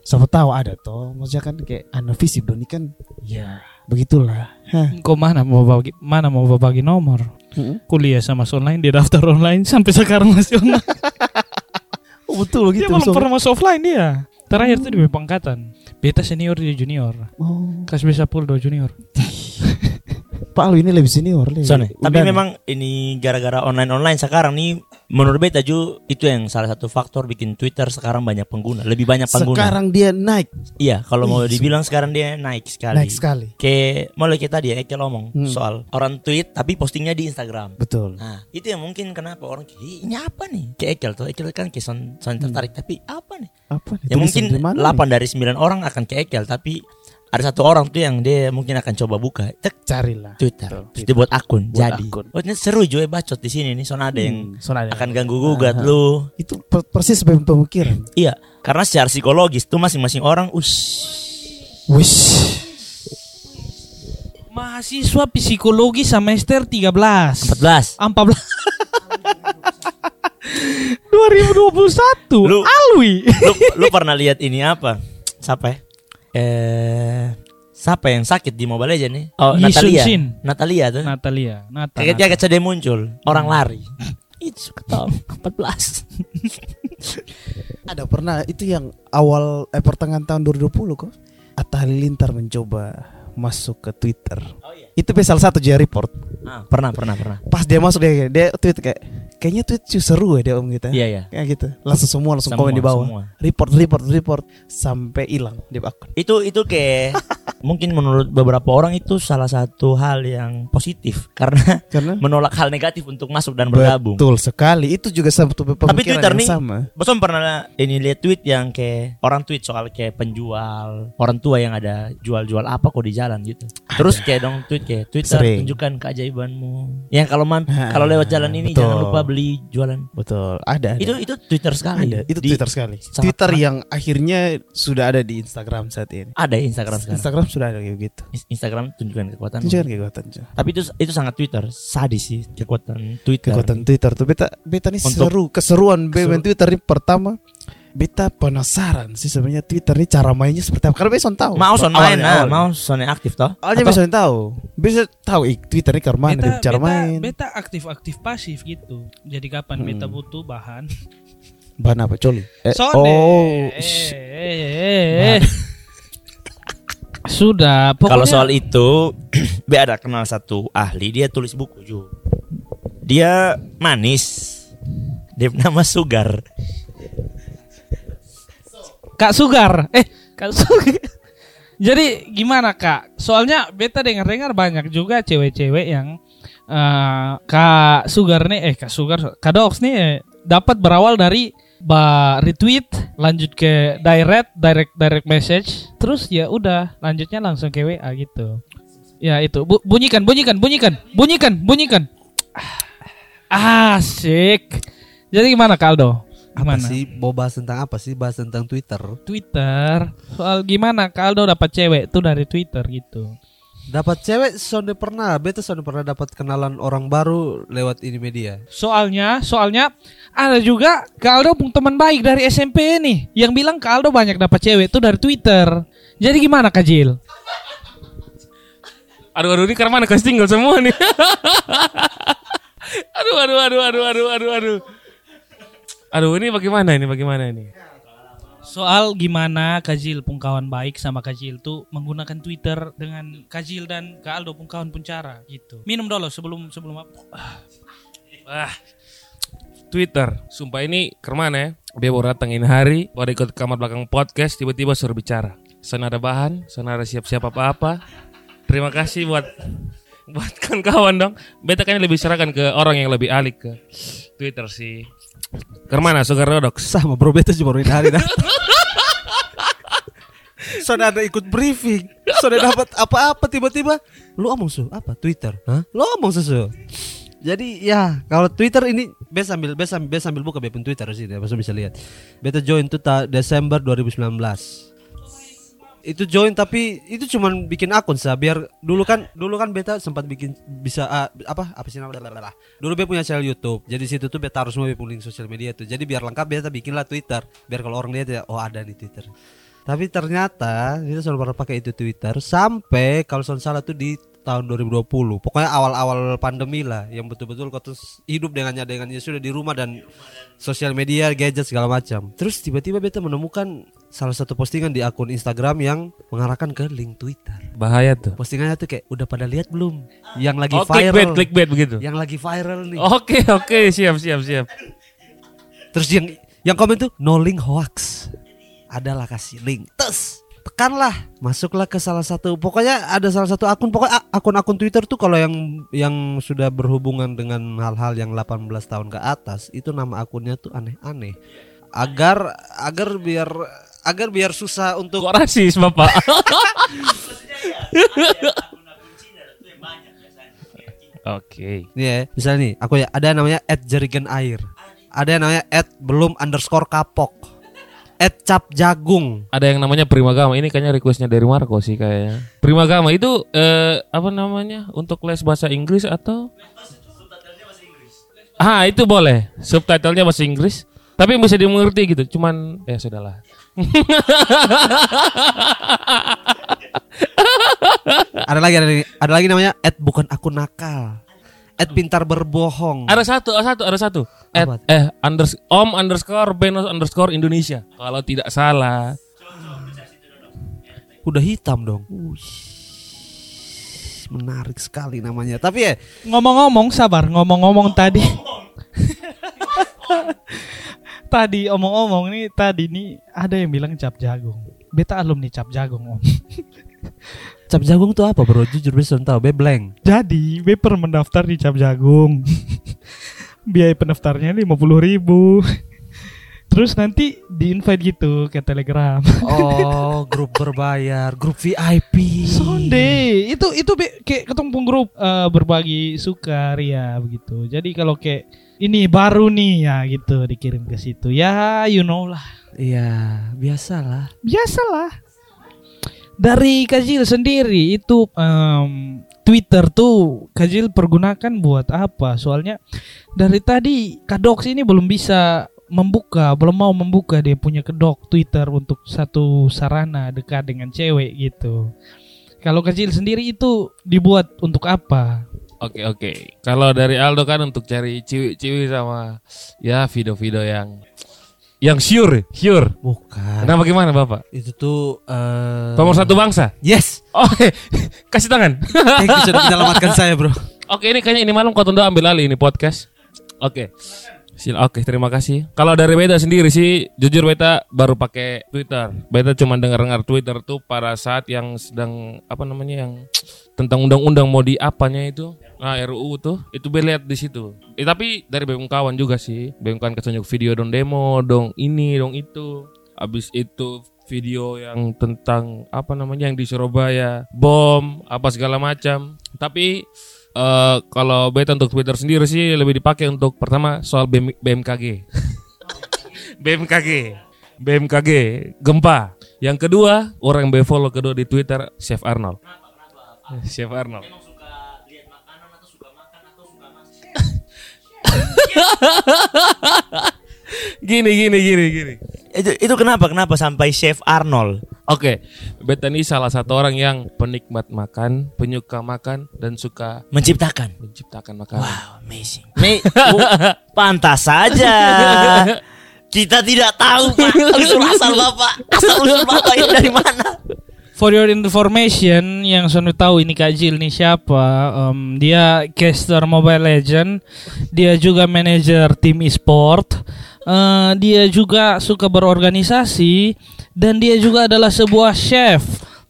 Siapa tahu ada toh. Maksudnya kan kayak anu visi Doni kan
Iya.
ya begitulah. Hah.
Kok mana mau bagi mana mau bagi nomor? Kuliah sama online, dia daftar online sampai sekarang masih online.
Oh, betul
dia
gitu.
belum
sob.
pernah masuk offline dia. Terakhir tuh di pangkatan. Beta senior dia junior.
Oh,
Kelas B 10 dua junior.
Pak Alwi ini lebih senior nih.
Soalnya, tapi
Udah nih.
memang ini gara-gara online-online sekarang nih menurut beta Ju itu yang salah satu faktor bikin Twitter sekarang banyak pengguna, lebih banyak pengguna.
sekarang dia naik,
iya, kalau mau dibilang sekarang dia naik sekali.
naik sekali.
Kayak mulai kita dia Ekel ngomong
Hmm.
soal orang tweet tapi postingnya di Instagram.
Betul.
Nah, itu yang mungkin kenapa orang kayak, "Ih, ini apa nih? Kayak Ekel tuh, Ekel kan kayak son, son
Hmm.
tertarik, tapi apa nih?
Apa nih?
Ya
Tulisan
mungkin
di mana
8
nih?
dari 9 orang akan ke Ekel, tapi ada satu orang tuh yang dia mungkin akan coba buka. Tek,
carilah.
Twitter.
Betul.
Terus dia buat akun.
Buat
jadi.
akun.
Oh, ini seru Joy bacot di sini nih. Soalnya ada yang
Hmm, soalnya ada
akan
yang-
ganggu gugat lu.
Itu per- persis sebagai pemikiran.
Iya, karena secara psikologis tuh masing-masing orang ush
Wish.
Mahasiswa psikologi semester 13.
14.
14. 2021.
Lu-
Alwi.
lu, lu pernah lihat ini apa? Siapa ya? Eh, siapa yang sakit di Mobile Legends nih? Oh,
Yi Sun
Natalia.
Shin.
Natalia tuh.
Natalia, Nata. Nata.
Kaget-kaget saja dia muncul, orang
Hmm.
lari. Itu ketop 14.
Ada pernah itu yang awal eh pertengahan tahun 2020 kok. Atta Halilintar mencoba masuk ke Twitter. Itu be salah satu dia report.
Ah, pernah, pernah, pernah.
Pas dia masuk dia dia tweet kayak kayaknya tweet cu seru ya dia om gitu.
Iya, iya.
Kayak gitu. Langsung semua langsung
Semua,
komen di bawah.
semua.
Report report report sampai hilang di akun.
Itu itu kayak mungkin menurut beberapa orang itu salah satu hal yang positif karena
Karena
menolak hal negatif untuk masuk dan bergabung.
Betul sekali. Itu juga satu pemikiran
Tapi Twitter
yang
nih,
sama.
Bosom pernah ini lihat tweet yang kayak orang tweet soal kayak penjual orang tua yang ada jual-jual apa kok di jalan gitu. Terus kayak dong tweet kayak Twitter
Sering.
tunjukkan keajaibanmu. Ya kalau man
Ha,
kalau lewat jalan ini
betul.
jangan lupa beli jualan.
Betul. Ada. ada.
Itu itu Twitter sekali.
ada. Itu
Di-
Twitter sekali.
sangat-
Twitter yang akhirnya sudah ada di Instagram saat ini.
ada ya Instagram sekarang.
Instagram sudah ada kayak gitu.
Instagram tunjukkan kekuatan.
Itu jangan kekuatan cuy.
Tapi itu itu sangat Twitter, sadis sih kekuatan Twitter.
Kekuatan Twitter tuh beta beta nih
Untuk-
seru keseruan be-
Keseru-
main Twitter nih pertama beta penasaran sih sebenarnya Twitter nih cara mainnya seperti apa karena beson tahu.
Mau son main,
Awalnya-
nah,
awalnya.
mau sonnya aktif toh.
Awalnya
Atau-
beson tahu. Bisa tahu ik Twitter nih karena mana dia cara main.
beta aktif aktif pasif gitu. Jadi kapan
Hmm.
beta butuh bahan?
Bahan apa coli? Eh,
Sone.
oh. Nah.
Eh,
shh.
eh, eh, eh. Sudah. Pokoknya
Kalau soal itu, be ada kenal satu ahli dia tulis buku juga. Dia manis. Dia nama Sugar.
Kak Sugar, eh Kak Sugar. Jadi gimana Kak? Soalnya beta dengar-dengar banyak juga cewek-cewek yang eh, Kak Sugar nih, eh Kak Sugar, Kak Dox nih eh, dapat berawal dari ba retweet, lanjut ke direct, direct direct message, terus ya udah lanjutnya langsung ke WA gitu. Ya itu Bu- bunyikan, bunyikan, bunyikan, bunyikan, bunyikan. Ah, Asik. Jadi gimana Kak Aldo?
apa
Mana?
sih mau bahas tentang apa sih bahas tentang Twitter
Twitter soal gimana Kaldo dapat cewek tuh dari Twitter gitu.
dapat cewek sonde pernah beta sonde pernah dapat kenalan orang baru lewat ini media
Soalnya, soalnya ada juga Kaldo pun teman baik dari SMP nih yang bilang Kaldo banyak dapat cewek tuh dari Twitter. Jadi gimana Kajil?
Aduh aduh ini karena mana kasih tinggal semua nih. aduh aduh aduh aduh aduh aduh aduh. Aduh ini bagaimana ini bagaimana ini?
Soal gimana Kajil pun kawan baik sama Kajil tuh menggunakan Twitter dengan Kajil dan Kaldo pun kawan pun cara gitu. Minum dulu sebelum sebelum apa?
Ah. Twitter. Sumpah ini kemana ya? Dia baru datang ini hari, baru ikut kamar belakang podcast, tiba-tiba suruh bicara. Sana ada bahan, sana ada siap-siap apa-apa. Terima kasih buat buat kan kawan dong. Beta kan lebih serahkan ke orang yang lebih alik ke Twitter sih. Kemana Sugar Rodok?
sama bro beta juga baru ini hari dah Soalnya ada ikut briefing Soalnya dapat apa-apa tiba-tiba Lu omong su apa Twitter Hah? Lu omong susu jadi ya kalau Twitter ini be sambil be sambil, be sambil buka be pun Twitter sih ya, bisa bisa lihat. Beta join tuh ta- Desember 2019 itu join tapi itu cuman bikin akun sah biar dulu kan dulu kan beta sempat bikin bisa ah, apa apa sih namanya Blablabla. dulu beta punya channel YouTube jadi situ tuh beta harus mau link sosial media tuh jadi biar lengkap beta bikin lah Twitter biar kalau orang lihat ya oh ada nih Twitter tapi ternyata kita selalu pernah pakai itu Twitter sampai kalau soal salah tuh di tahun 2020 pokoknya awal-awal pandemi lah yang betul-betul kau tuh hidup dengannya dengannya sudah di rumah dan sosial media gadget segala macam terus tiba-tiba beta menemukan salah satu postingan di akun Instagram yang mengarahkan ke link Twitter
Bahaya tuh.
postingannya tuh kayak udah pada lihat belum yang lagi
Oh, clickbait,
viral
clickbait begitu.
yang lagi viral nih
Oke, oke, siap, siap, siap.
terus yang yang komen tuh no link hoax adalah kasih link tes tekanlah masuklah ke salah satu pokoknya ada salah satu akun pokoknya a- akun-akun Twitter tuh kalau yang yang sudah berhubungan dengan hal-hal yang 18 tahun ke atas itu nama akunnya tuh aneh-aneh agar agar biar agar biar susah untuk
Kok rasis, Bapak? Oke.
Iya, misalnya nih, aku ya ada yang namanya at jerigen air, ada yang namanya at belum underscore kapok, at cap jagung.
Ada yang namanya Primagama. Ini kayaknya requestnya dari Marco sih kayaknya. Primagama itu eh, apa namanya? Untuk les bahasa Inggris atau? Ah, itu boleh. Subtitlenya bahasa Inggris. Tapi bisa dimengerti gitu. Cuman ya sudahlah.
Ada lagi ada lagi, ada lagi namanya at bukan aku nakal, at pintar berbohong.
Ada satu, ada satu, ada satu. At,
Apa?
eh, unders- om underscore benos underscore Indonesia. Kalau tidak salah.
Udah hitam dong. Wih, menarik sekali namanya. Tapi ya,
Ngomong-ngomong sabar, ngomong-ngomong tadi. tadi omong-omong nih tadi nih ada yang bilang cap jagung. Beta alumni cap jagung om.
cap jagung tuh apa bro? Jujur bisa tahu, be blank.
Jadi be pernah mendaftar di cap jagung. Biaya pendaftarnya 50.000 ribu. Terus nanti di invite gitu ke telegram.
Oh, grup berbayar, grup VIP.
Sonde itu itu be, kayak ketumpung grup eh, berbagi sukaria begitu. Jadi kalau kayak ini baru nih ya gitu dikirim ke situ. Ya you know lah.
Iya, biasalah.
Biasalah. Dari Kajil sendiri itu em, Twitter tuh Kajil pergunakan buat apa? Soalnya dari tadi Kadox ini belum bisa membuka, belum mau membuka dia punya kedok Twitter untuk satu sarana dekat dengan cewek gitu. Kalau Kajil sendiri itu dibuat untuk apa?
Oke oke. Kalau dari Aldo kan untuk cari ciwi-ciwi sama ya video-video yang yang sure, sure.
Bukan.
Kenapa gimana Bapak?
Itu tuh eh
Nomor satu bangsa.
Yes.
Oke, kasih tangan.
Thank you sudah menyelamatkan saya, Bro.
Oke, ini kayaknya ini malam Kotondo ambil alih ini podcast. Oke. Sil- Oke, terima kasih. Kalau dari Beta sendiri sih, jujur Beta baru pakai Twitter. Beta cuma dengar-dengar Twitter tuh pada saat yang sedang apa namanya yang tentang undang-undang mau di apanya itu. Nah, RUU tuh itu be lihat di situ. Eh, tapi dari BM kawan juga sih. BM kawan ketunjuk video dong demo, dong ini, dong itu. Habis itu video yang tentang apa namanya yang di Surabaya, bom, apa segala macam. Tapi eh, kalau beta untuk Twitter sendiri sih lebih dipakai untuk pertama soal BM BMKG. BMKG. BMKG gempa. Yang kedua, orang yang follow kedua di Twitter Chef Arnold. Chef Arnold. gini gini gini gini.
Itu itu kenapa kenapa sampai Chef Arnold?
Oke, Beta ini salah satu orang yang penikmat makan, penyuka makan dan suka
Menciptakan.
menciptakan makanan.
Wow, amazing. Nih, bu, pantas saja. Kita tidak tahu Pak, usul asal Bapak. Asal usul Bapak ini dari mana?
For your information, yang Sony tahu ini Kak Jil nih siapa? Em, dia caster Mobile Legend, dia juga manajer tim e-sport, Eh, dia juga suka berorganisasi, dan dia juga adalah sebuah chef,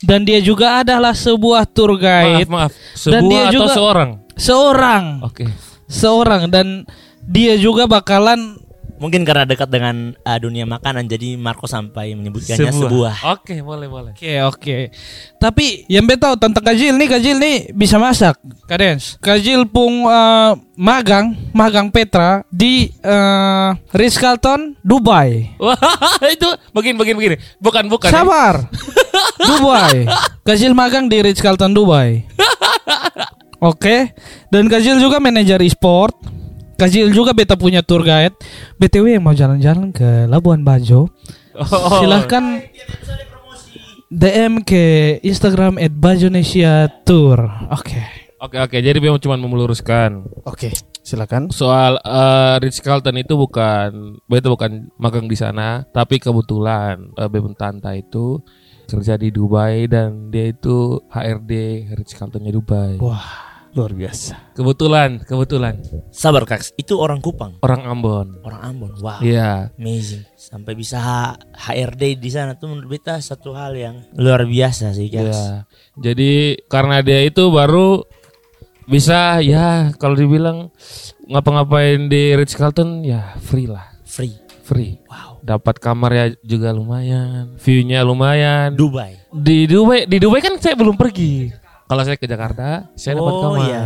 dan dia juga adalah sebuah tour guide,
Maaf, Oh. maaf.
Dan dia
Sebuah atau
juga-
seorang?
seorang,
Oke.
seorang, dan dia juga bakalan
Mungkin karena dekat dengan eh, dunia makanan jadi Marco sampai menyebutkannya sebuah.
Ah.
Oke, boleh, boleh.
Oke oke. Tapi yang beta tahu tentang Kajil nih Kajil nih bisa masak. Kadens. Kajil pung eh, magang magang Petra di eh, Ritz Carlton Dubai.
Wah, itu begini begini begini. Bukan, bukan. ya.
Sabar. Dubai. Kajil magang di Ritz Carlton Dubai. Oke. Dan Kajil juga manajer e-sport. Kajil juga beta punya tour guide. BTW yang mau jalan-jalan ke Labuan Bajo,
Oh.
silahkan DM ke Instagram at Bajonesia Tour. Oke.
Oke, oke. Jadi memang cuma meluruskan
Oke, silakan.
soal eh, Ritz Carlton itu bukan itu bukan magang di sana, tapi kebetulan eh, Beben Tanta itu kerja di Dubai dan dia itu HRD Ritz Carltonnya Dubai.
Oh.
Luar biasa.
Kebetulan, kebetulan
Sabar Kak, itu orang Kupang,
orang Ambon.
orang Ambon.
Ah.
Wow.
Iya.
Amazing. Sampai bisa H- HRD di sana tuh menurut beta satu hal yang luar biasa sih, Kak.
Iya. Jadi karena dia itu baru bisa ya kalau dibilang ngapa-ngapain di Ritz Carlton ya free lah,
Free.
free. Wow. Dapat kamar ya juga lumayan, view-nya lumayan.
Dubai.
di Dubai, di Dubai kan saya belum pergi. Kalau saya ke Jakarta, saya dapat
Oh,
kamar.
iya.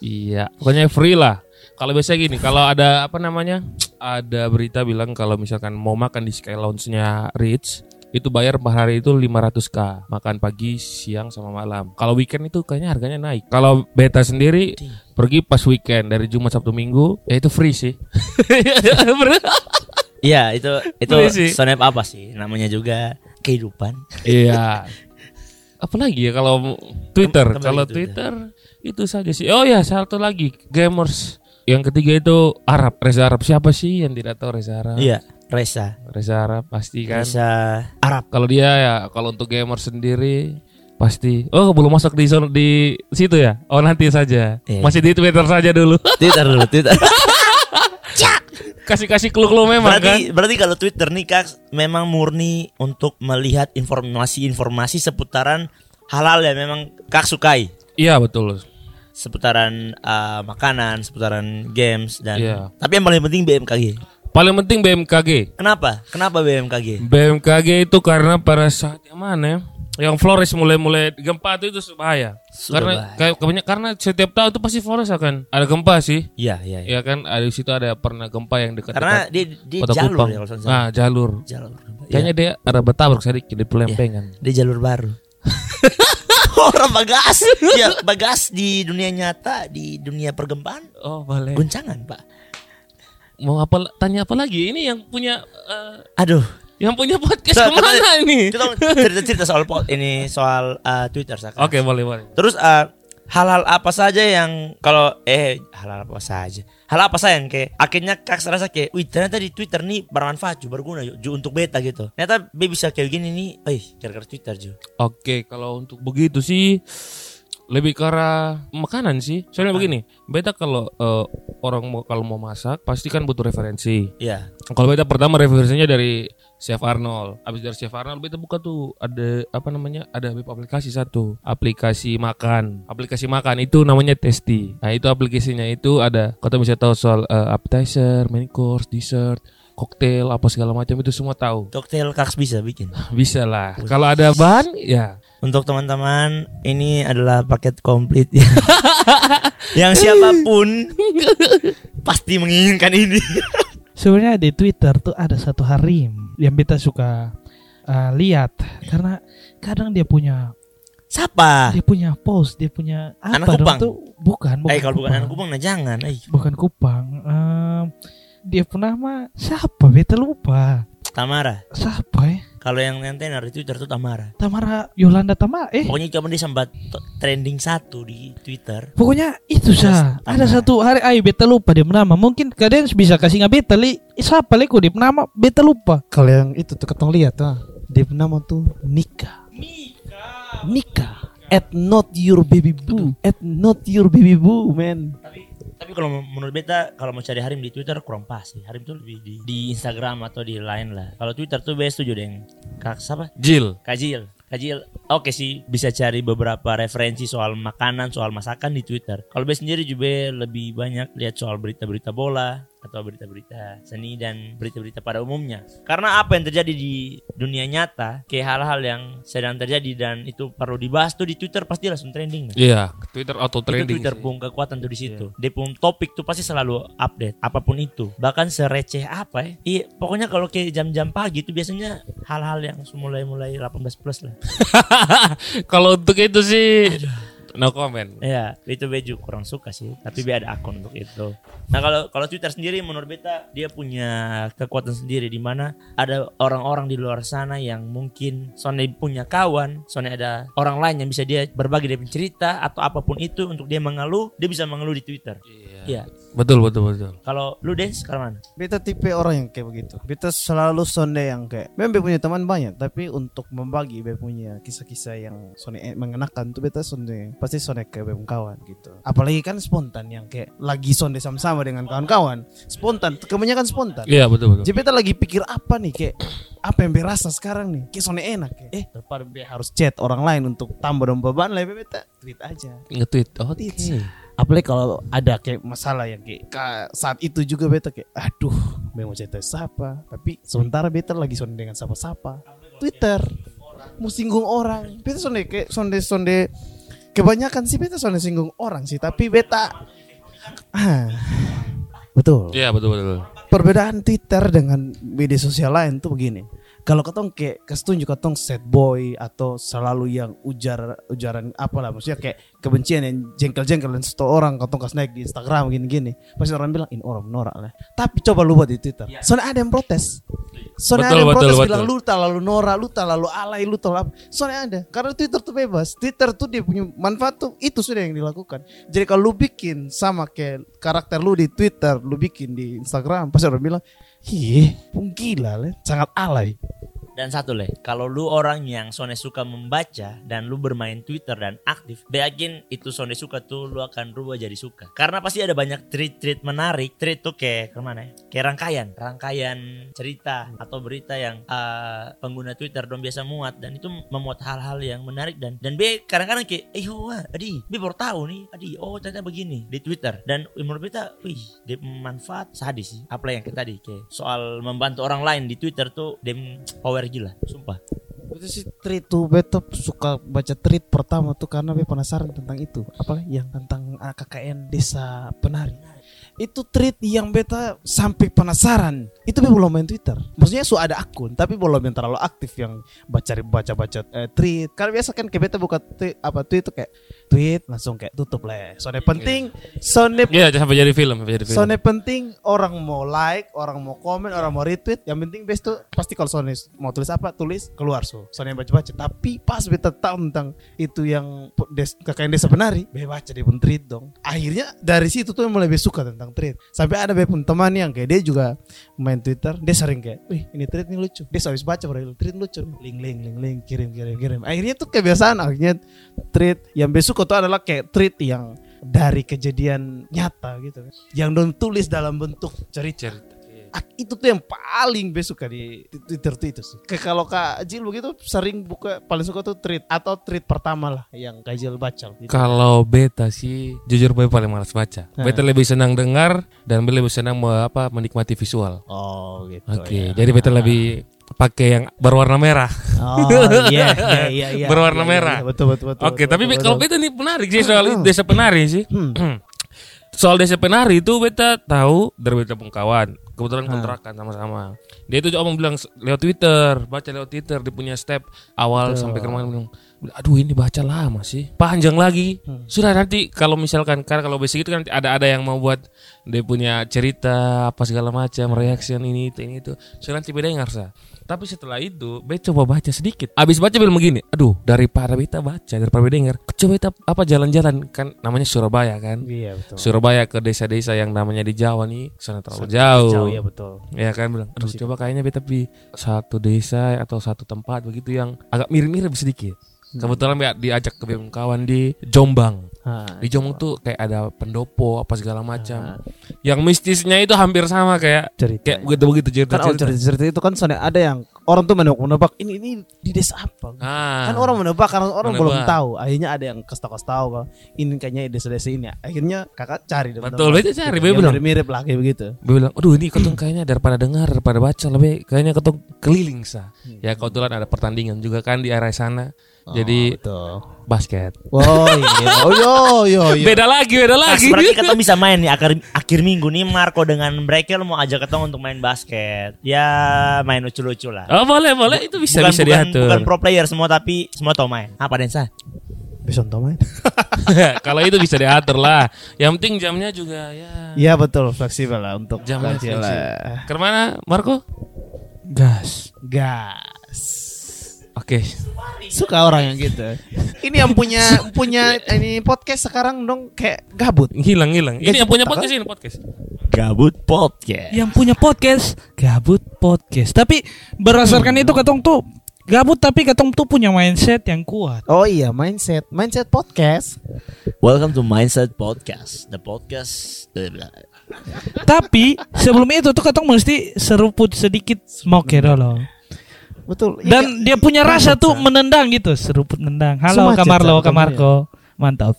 Iya, pokoknya free lah. Kalau biasanya gini, kalau ada apa namanya? Ada berita bilang kalau misalkan mau makan di Sky Lounge-nya Ritz, itu bayar per hari itu 500k makan pagi siang sama malam kalau weekend itu kayaknya harganya naik kalau beta sendiri pergi pas weekend dari Jumat Sabtu Minggu ya itu free sih
Iya, itu itu
Boleh sih.
snap apa sih? Namanya juga kehidupan.
Iya. Apalagi ya kalau Twitter,
Kembali
kalau
ke
Twitter itu saja sih. Oh ya, satu lagi gamers. Yang ketiga itu Arab, Reza Arab. Siapa sih yang tidak tahu Reza Arab?
Iya, Reza.
Reza Arab pasti kan.
Reza Arab.
Kalau dia ya, kalau untuk gamer sendiri pasti. Oh, belum masuk di zona- di situ ya? Oh, nanti saja.
Iya.
Masih di Twitter saja dulu.
Twitter dulu, Twitter.
Kasih-kasih clue-clue memang kan.
berarti berarti kalau Twitter nih Kak memang murni untuk melihat informasi-informasi seputaran halal yang memang Kak sukai.
Iya, betul.
Seputaran eh, makanan, seputaran games dan
Iya.
tapi yang paling penting BMKG.
Paling penting BMKG.
Kenapa? Kenapa BMKG?
BMKG itu karena pada saat yang mana ya, yang Flores mulai-mulai gempa itu itu bahaya.
Sudah
karena
bahaya.
kayak kebanyak- karena setiap tahun itu pasti Flores akan ada gempa sih.
Iya, iya. iya.
Ya kan ada di situ ada pernah gempa yang dekat
Karena
dekat
dia dia
Kota
jalur
Kupang.
ya kalau saya salah.
nah, jalur.
Jalur. Iya.
Kayaknya dia ada bertabrak sedikit di pelempengan.
Dia jalur baru. Orang bagas, ya bagas di dunia nyata, di dunia pergempaan,
Oh, boleh.
guncangan pak.
Mau apa tanya apa lagi? Ini yang punya eh,
Aduh.
yang punya podcast
Sa-
kemana
katanya-
ini?
Kita cerita-cerita soal pot ini soal eh, Twitter Saka.
Oke, boleh, boleh.
Terus eh, hal-hal apa saja yang kalau eh hal-hal apa saja? Hal apa saja yang kayak akhirnya kak rasa kayak, wih ternyata di Twitter nih bermanfaat juga berguna Ju, Ju, untuk beta gitu. Ternyata be bisa kayak gini nih, eh gara-gara Twitter Ju.
Oke, kalau untuk begitu sih lebih ke arah makanan sih. Soalnya begini, beta kalau eh, orang mau kalau mau masak pasti kan butuh referensi.
Iya.
Kalau beta pertama referensinya dari Chef Arnold. Habis dari Chef Arnold beta buka tuh ada apa namanya? Ada web aplikasi satu, aplikasi makan. Aplikasi makan itu namanya Tasty. Nah, itu aplikasinya itu ada kau bisa tahu soal eh, appetizer, main course, dessert, koktail apa segala macam itu semua tahu.
Cocktail Kaks bisa bikin.
Bisa lah. Kalau ada bahan ya
Untuk teman-teman, ini adalah paket komplit ya. yang siapapun pasti menginginkan ini.
sebenarnya di Twitter tuh ada satu harim yang beta suka eh, lihat karena kadang dia punya
Siapa?
dia punya post dia punya apa
Ah. Anak
dong
Kupang?
tuh bukan bukan
Eh kalau bukan
Kupang.
anak kubang nah jangan. Eh,
bukan kupang Em, dia pun nama siapa beta lupa
Tamara.
siapa ya
Kalau yang yang tenar di Twitter tuh Tamara.
Tamara Yolanda Tamara eh
Pokoknya cuma dia sempat t- trending satu di Twitter.
Pokoknya itu sah.
Tamara.
Ada satu hari ay beta lupa dia nama. Mungkin kalian bisa kasih nggak beta li. Eh, Siapa li kok dia nama beta lupa.
Kalau yang itu tuh ketong lihat tuh, ah. dia punya nama tuh Nika. Nika. At not your baby boo. At not your baby boo, man.
Tapi kalau menurut beta kalau mau cari Harim di Twitter kurang pas sih. Harim tuh lebih di, di Instagram atau di lain lah. Kalau Twitter tuh best setuju deng. Kak siapa?
Jill.
Kajil. Kajil. Oke sih bisa cari beberapa referensi soal makanan, soal masakan di Twitter. Kalau best sendiri juga lebih banyak lihat soal berita-berita bola atau berita-berita seni dan berita-berita pada umumnya. Karena apa yang terjadi di dunia nyata, kayak hal-hal yang sedang terjadi dan itu perlu dibahas tuh di Twitter pasti langsung trending.
Iya, Twitter auto
itu
trending.
Twitter
sih.
pun kekuatan tuh di situ. Dia pun topik tuh pasti selalu update apapun itu. Bahkan sereceh apa ya? Iya, pokoknya kalau kayak jam-jam pagi itu biasanya hal-hal yang mulai-mulai 18 plus lah.
Kalau untuk itu sih no comment.
Iya, itu Beju kurang suka sih, tapi dia ada akun untuk itu. Nah, kalau kalau Twitter sendiri menurut beta dia punya kekuatan sendiri di mana ada orang-orang di luar sana yang mungkin Sony punya kawan, Sony ada orang lain yang bisa dia berbagi dia punya cerita atau apapun itu untuk dia mengeluh, dia bisa mengeluh di Twitter. Iya.
Betul betul betul.
Kalau lu dance sekarang mana?
Beta tipe orang yang kayak begitu. Beta selalu sonde yang kayak. Memang beta punya teman banyak, tapi untuk membagi beta punya kisah-kisah yang sonde eh, mengenakan tuh beta sonde pasti sonde ke beta punya kawan gitu. Apalagi kan spontan yang kayak lagi sonde sama-sama dengan kawan-kawan. Spontan, kebanyakan spontan.
Iya betul betul.
Jadi beta lagi pikir apa nih kayak apa yang beta rasa sekarang nih? Kayak sonde enak kayak. Eh, daripada beta harus chat orang lain untuk tambah dong beban lah ya, beta tweet aja.
Nge-tweet. Oh,
Apalagi kalau ada kayak masalah yang kayak ka- saat itu juga beta kayak aduh memang mau cerita siapa tapi sementara beta lagi sonde dengan siapa-siapa Twitter mau singgung orang beta sonde kayak sonde sonde kebanyakan sih beta sonde singgung orang sih tapi beta ah, betul
Iya betul betul.
perbedaan Twitter dengan media sosial lain tuh begini. Kalau ketong kayak kasih tunjuk ketong sad boy atau selalu yang ujar ujaran apalah maksudnya kayak kebencian yang jengkel-jengkel dan satu orang ketong kasih naik di Instagram gini-gini. Pasti orang bilang ini orang norak lah. Tapi coba lu buat di Twitter. Soalnya ada yang protes. Soalnya ada
Betul,
yang
betul,
protes
betul.
bilang lu terlalu norak, lu terlalu alay, lu terlalu apa. Soalnya ada. Karena Twitter tuh bebas. Twitter tuh dia punya manfaat tuh itu sudah yang dilakukan. Jadi kalau lu bikin sama kayak karakter lu di Twitter, lu bikin di Instagram, pasti orang bilang, "Ih, pun gila, le. sangat alay."
Dan satu leh, kalau lu orang yang Sone suka membaca dan lu bermain Twitter dan aktif, be yakin itu Sone suka tuh lu akan rubah jadi suka. Karena pasti ada banyak tweet-tweet menarik, tweet tuh kayak kemana ya? Kayak rangkaian, rangkaian cerita atau berita yang eh, pengguna Twitter dong biasa muat dan itu memuat hal-hal yang menarik dan dan be kadang-kadang kayak, eh wah, adi, be baru tahu nih, adi, oh ternyata begini di Twitter dan menurut kita, wih, dia manfaat sadis sih. Apa yang kayak tadi kayak soal membantu orang lain di Twitter tuh dem power gila, sumpah.
Itu sih tweet tuh beta suka baca tweet pertama tuh karena be penasaran tentang itu. Apalagi yang tentang ah, KKN Desa Penari. Itu tweet yang beta sampai penasaran. Itu be belum main Twitter. Maksudnya su ada akun tapi belum yang terlalu aktif yang baca baca baca eh, tweet. Karena biasa kan ke beta buka tweet, apa tweet tuh kayak tweet langsung kayak tutup lah. ya." Soalnya penting, soalnya
Iya, sampai jadi film, sampai jadi film.
Soalnya penting orang mau like, orang mau komen, orang mau retweet. Yang penting best tuh pasti kalau Sony mau tulis apa tulis keluar so. Sony baca-baca. Tapi pas beta tahu tentang itu yang po- des, kakaknya desa penari, be baca dia pun tweet dong. Akhirnya dari situ tuh mulai lebih suka tentang tweet. Sampai ada be pun teman yang kayak dia juga main Twitter, dia sering kayak, wih ini tweet nih lucu. Dia habis baca baru tweet lucu, link link link link kirim kirim kirim. Akhirnya tuh kebiasaan akhirnya tweet yang besok itu adalah kayak tweet yang dari kejadian nyata gitu kan. Yang don tulis dalam bentuk cerita.
Cerita. iya.
Ah, Itu tuh yang paling besok suka di di Twitter tuh itu sih. Kayak kalau Kak Jil begitu sering buka paling suka tuh tweet atau tweet pertama lah yang Kak Jil baca. Gitu.
Kalau beta sih jujur boy paling malas baca.
Nah.
Beta lebih senang dengar dan beta lebih senang me- apa menikmati visual.
Oh gitu.
Oke,
ya.
jadi beta lebih pakai yang berwarna merah.
Oh iya iya iya. iya.
Berwarna
Iya, iya,
merah.
iya, Betul betul betul.
Oke,
betul,
tapi
betul,
kalau
betul.
beta nih menarik sih soal itu, desa penari sih.
Hmm.
soal desa penari itu beta tahu dari beta pun kawan.
Hmm.
kebetulan kontrakan sama-sama. Dia itu omong bilang "S- lewat Twitter, baca lewat Twitter dia punya step awal sampai ke rumah dia bilang, aduh ini baca lama sih, panjang lagi.
Hmm.
Sudah nanti kalau misalkan karena kalau basic itu kan nanti ada ada yang mau buat dia punya cerita apa segala
Hmm.
macam, reaction ini itu ini itu. Sudah nanti beda yang ngarsa. Tapi setelah itu, Be coba baca sedikit. Abis baca bilang begini, aduh daripada beta baca, daripada beta denger, coba beta apa jalan-jalan kan namanya Surabaya kan.
Iya betul.
Surabaya ke desa-desa yang namanya di Jawa nih, sana terlalu jauh.
Jauh ya betul.
Ya kan bilang, aduh coba kayaknya beta di satu desa atau satu tempat begitu yang agak mirip-mirip sedikit.
Hmm.
Kebetulan Beta diajak ke BM kawan di Jombang.
Ha,
Di Jombang tuh kayak ada pendopo apa
ah.
segala macam. Yang mistisnya itu hampir sama kayak
cerita.
kayak begitu-begitu
kan awal
cerita-cerita.
cerita-cerita itu kan soalnya ada yang orang tuh menebak menebak ini ini di desa apa
Ah.
kan orang menebak karena orang
Menebak.
belum tahu akhirnya ada yang kasih tahu tahu kalau ini kayaknya di desa desa ini akhirnya kakak cari deh
Betul,
menebak.
beta cari, beta
Yang
bilang.
mirip-mirip lah kayak begitu
Gue bilang, aduh ini ketong kayaknya daripada dengar, daripada baca lebih kayaknya ketong keliling sa. Ya kebetulan ada pertandingan juga kan di area sana. Jadi basket.
oh iya oh yo yo yo
Beda lagi, beda
Nah,
lagi.
berarti ketemu bisa main nih akhir, akhir minggu nih Marco dengan Brekel mau ajak ketemu untuk main basket. Ya main lucu-lucu lah.
Oh boleh, boleh itu bisa
bukan,
bisa
bukan,
diatur.
bukan pro player semua tapi semua tau main. Apa Densa?
besok tau main
Ya, Kalau itu bisa diatur lah. Yang penting jamnya juga ya.
Iya betul fleksibel lah untuk
Jamnya
latihan lah.
fleksibel. Kemana Marco?
Gas.
gas
Oke.
suka orang yang gitu ini yang punya punya ini podcast sekarang dong kayak gabut
Hilang hilang.
Gas
Ini yang punya
otak,
podcast ini podcast.
Gabut podcast.
Yang punya podcast gabut podcast. Tapi
Hmm.
berdasarkan itu katong tuh gabut tapi katong tuh punya mindset yang kuat.
oh iya mindset mindset podcast
Welcome to Mindset Podcast. The podcast
tapi sebelum itu tuh katong mesti seruput sedikit moke dulu.
betul Iya,
Dan dia punya rasa
Mantap,
tuh
Sa.
menendang gitu, seruput nendang. Halo
Semacam,
kamar lo,
Sa,
kamarko. Mantap.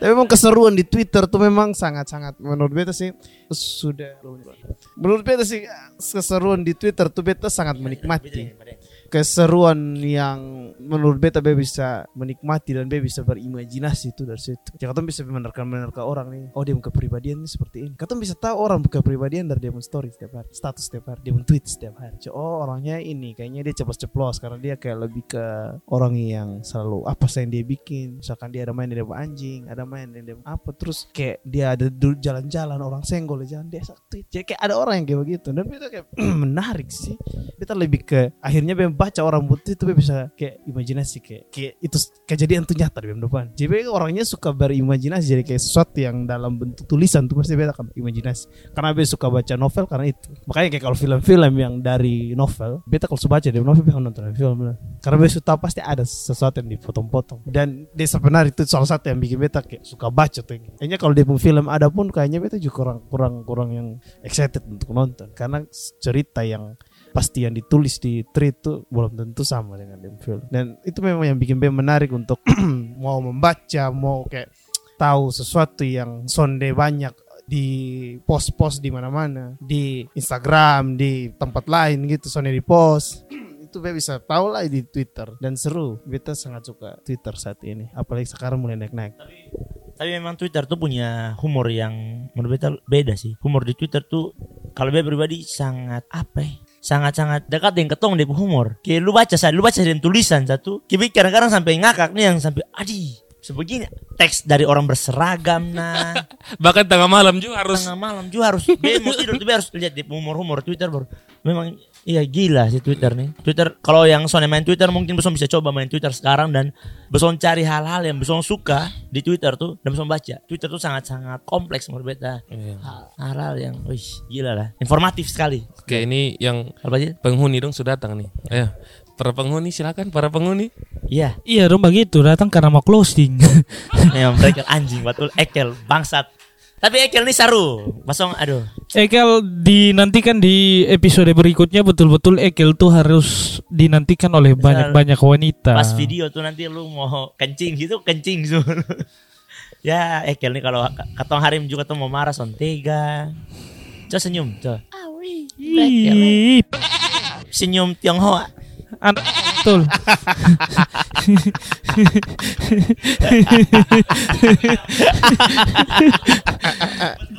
Tapi memang keseruan di Twitter tuh memang sangat-sangat menurut beta sih sudah menurut beta sih keseruan di Twitter tuh beta sangat menikmati keseruan yang menurut beta beta bisa menikmati dan beta bisa berimajinasi itu dari situ. Ya kata bisa menerka menerka orang nih. Oh dia kepribadian seperti ini. Kata bisa tahu orang kepribadian dari dia punya story setiap hari, status setiap hari, dia punya tweet setiap hari. Cuk, Oh orangnya ini kayaknya dia ceplos-ceplos karena dia kayak lebih ke orang yang selalu apa sih yang dia bikin misalkan dia ada main dia sama anjing ada main dia sama apa terus kayak dia ada dulu jalan-jalan orang senggol di jalan dia satu jadi kayak ada orang yang kayak begitu dan itu kayak menarik sih kita lebih ke akhirnya bem baca orang butuh itu bem bisa kayak imajinasi kayak kayak itu s- kejadian tuh nyata di bem depan jadi bem orangnya suka berimajinasi jadi kayak sesuatu yang dalam bentuk tulisan tuh pasti bem akan imajinasi karena bem suka baca novel karena itu makanya kayak kalau film-film yang dari novel beta kalau suka baca dari novel beta nonton film lah karena besok tahu pasti ada sesuatu yang dipotong-potong dan desa benar itu salah satu yang bikin beta kayak suka baca tuh kayaknya kalau di film ada pun kayaknya beta juga kurang kurang kurang yang excited untuk nonton karena cerita yang pasti yang ditulis di tweet itu belum tentu sama dengan di film dan itu memang yang bikin beta menarik untuk mau membaca mau kayak tahu sesuatu yang sonde banyak di post-post di mana-mana di Instagram di tempat lain gitu sonde di post itu beta bisa tahu lah di Twitter dan seru. Beta sangat suka Twitter saat ini, apalagi sekarang mulai naik-naik.
Tapi memang Twitter tuh punya humor yang menurut beta beda sih. Humor di Twitter tuh kalau beta pribadi sangat apa ya? sangat-sangat dekat dengan ketong dia punya humor. Kayak lu baca saya, lu baca dari tulisan satu. Kayak kadang-kadang sampai ngakak nih yang sampai adi sebegini teks dari orang berseragam nah
Bahkan tengah malam juga harus
tengah malam juga harus dia mau tidur tapi harus lihat di humor-humor Twitter baru memang iya gila sih Twitter nih Twitter kalau yang soalnya main Twitter mungkin besok bisa coba main Twitter sekarang dan besok cari hal-hal yang besok suka di Twitter tuh dan besok baca Twitter tuh sangat-sangat kompleks menurut beta
Iya.
Hal- hal-hal yang wih gila lah informatif sekali
Oke, ini yang
apa sih
penghuni dong sudah datang nih. Ayo. Para penghuni silakan para penghuni.
iya
Iya dong begitu, datang karena mau closing.
memang mereka anjing betul ekel bangsat tapi ekel nih saru pasong aduh
Ekel dinantikan di episode berikutnya betul-betul Ekel tuh harus dinantikan oleh banyak-banyak wanita.
pas video tuh nanti lu mau kencing gitu kencing tuh ya ekel nih kalau katong harim juga tuh mau marah sontega coba senyum coba
Ih,
senyum tionghoa
an- Betul.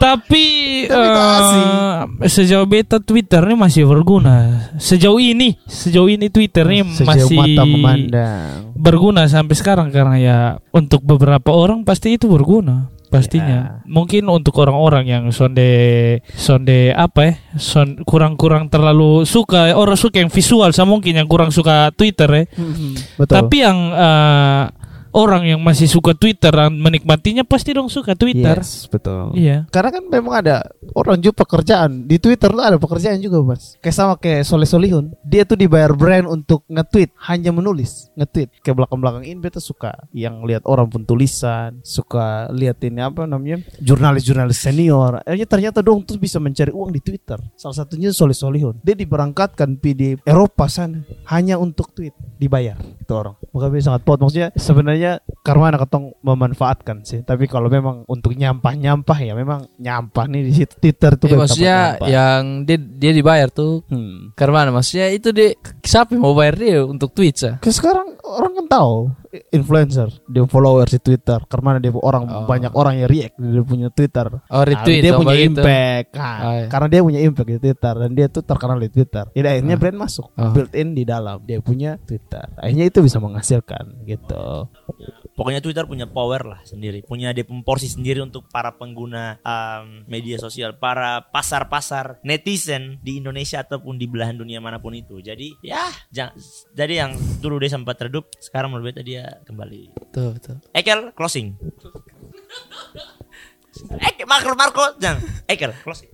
Tapi eh, sejauh beta Twitter ini masih berguna. Sejauh ini, sejauh ini Twitter ini
Sejauh
masih
mata memandang.
berguna sampai sekarang karena ya untuk beberapa orang pasti itu berguna
Ya.
pastinya mungkin untuk orang-orang yang sonde sonde apa ya son- kurang-kurang terlalu suka orang suka yang visual sama mungkin yang kurang suka Twitter ya
Betul.
tapi yang eh, orang yang masih suka Twitter yang menikmatinya pasti dong suka Twitter
Yes, betul.
iya
Karena kan memang ada orang juga pekerjaan di Twitter tuh ada pekerjaan juga mas. Kayak sama kayak Soleh Solihun, dia tuh dibayar brand untuk nge-tweet, hanya menulis nge-tweet. Kayak belakang-belakang ini beta suka yang lihat orang pun tulisan, suka lihat ini apa namanya jurnalis-jurnalis senior. Akhirnya ternyata dong tuh bisa mencari uang di Twitter. Salah satunya Soleh Solihun, dia diberangkatkan pi di Eropa sana hanya untuk tweet dibayar itu orang. Makanya sangat pot maksudnya sebenarnya karma anak ketong memanfaatkan sih. Tapi kalau memang untuk nyampah-nyampah ya memang nyampah nih di situ Twitter tuh.
Eh,
kayak
maksudnya
tempat nyampah.
yang dia, dia dibayar tuh
Hmm.
karena mana? maksudnya itu dia siapa yang mau bayar dia untuk ya? tweet sah?
Kayak sekarang orang kan tahu influencer, dia followers di Twitter. Karena dia orang
Oh.
banyak orang yang react di dia punya Twitter. Nah,
Oh retweet
dia
apa
punya
gitu.
impact kan.
Oh, iya.
karena dia punya impact di Twitter dan dia tuh terkenal di Twitter. Jadi akhirnya
Ah.
brand masuk
Ah.
built in di dalam dia punya Twitter. Akhirnya itu bisa menghasilkan gitu.
Pokoknya Twitter punya power lah sendiri, punya dia punya porsi sendiri untuk para pengguna um, media sosial, para pasar-pasar netizen di Indonesia ataupun di belahan dunia manapun itu. Jadi ya, jang- jadi yang dulu dia sempat redup, sekarang menurut beta dia kembali.
Betul, betul.
Ekel closing. Ekel Marco Marco jangan. Ekel closing.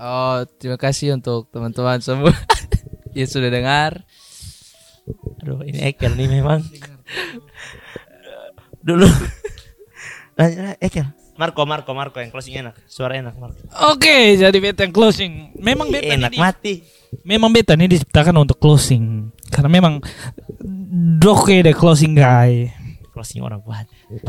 Oh, terima kasih untuk teman-teman semua yang sudah dengar.
Aduh ini Ekel nih memang. dulu. Lanjut, Ekel. Marco Marco Marco yang closing enak, suara enak Marco.
oke jadi beta yang closing memang
Iya,
Ih,
beta
enak
ini-
mati.
memang beta ini diciptakan untuk closing karena memang doke the closing guy
Closing orang buat.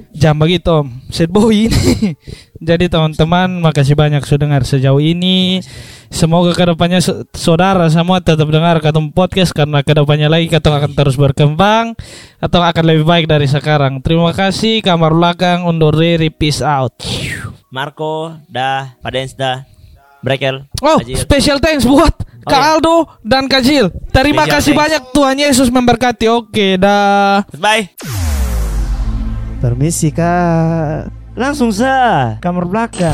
Jangan begitu Om Sad boy ini Jadi teman-teman Makasih banyak sudah dengar sejauh ini Semoga kedepannya so- saudara semua tetap dengar Katong Podcast Karena kedepannya lagi Katong akan terus berkembang Atau akan lebih baik dari sekarang Terima kasih Kamar belakang Undur diri Peace out
Marco, dah, Padens dah, Brekel,
Oh
Ajil.
special thanks buat
Oh, iya.
Kak Aldo dan Kak Jil Terima
Special
kasih
thanks.
banyak Tuhan Yesus memberkati Oke dah
Goodbye.
Permisi kak Langsung sa Kamar belakang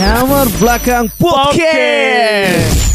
Kamar belakang Podcast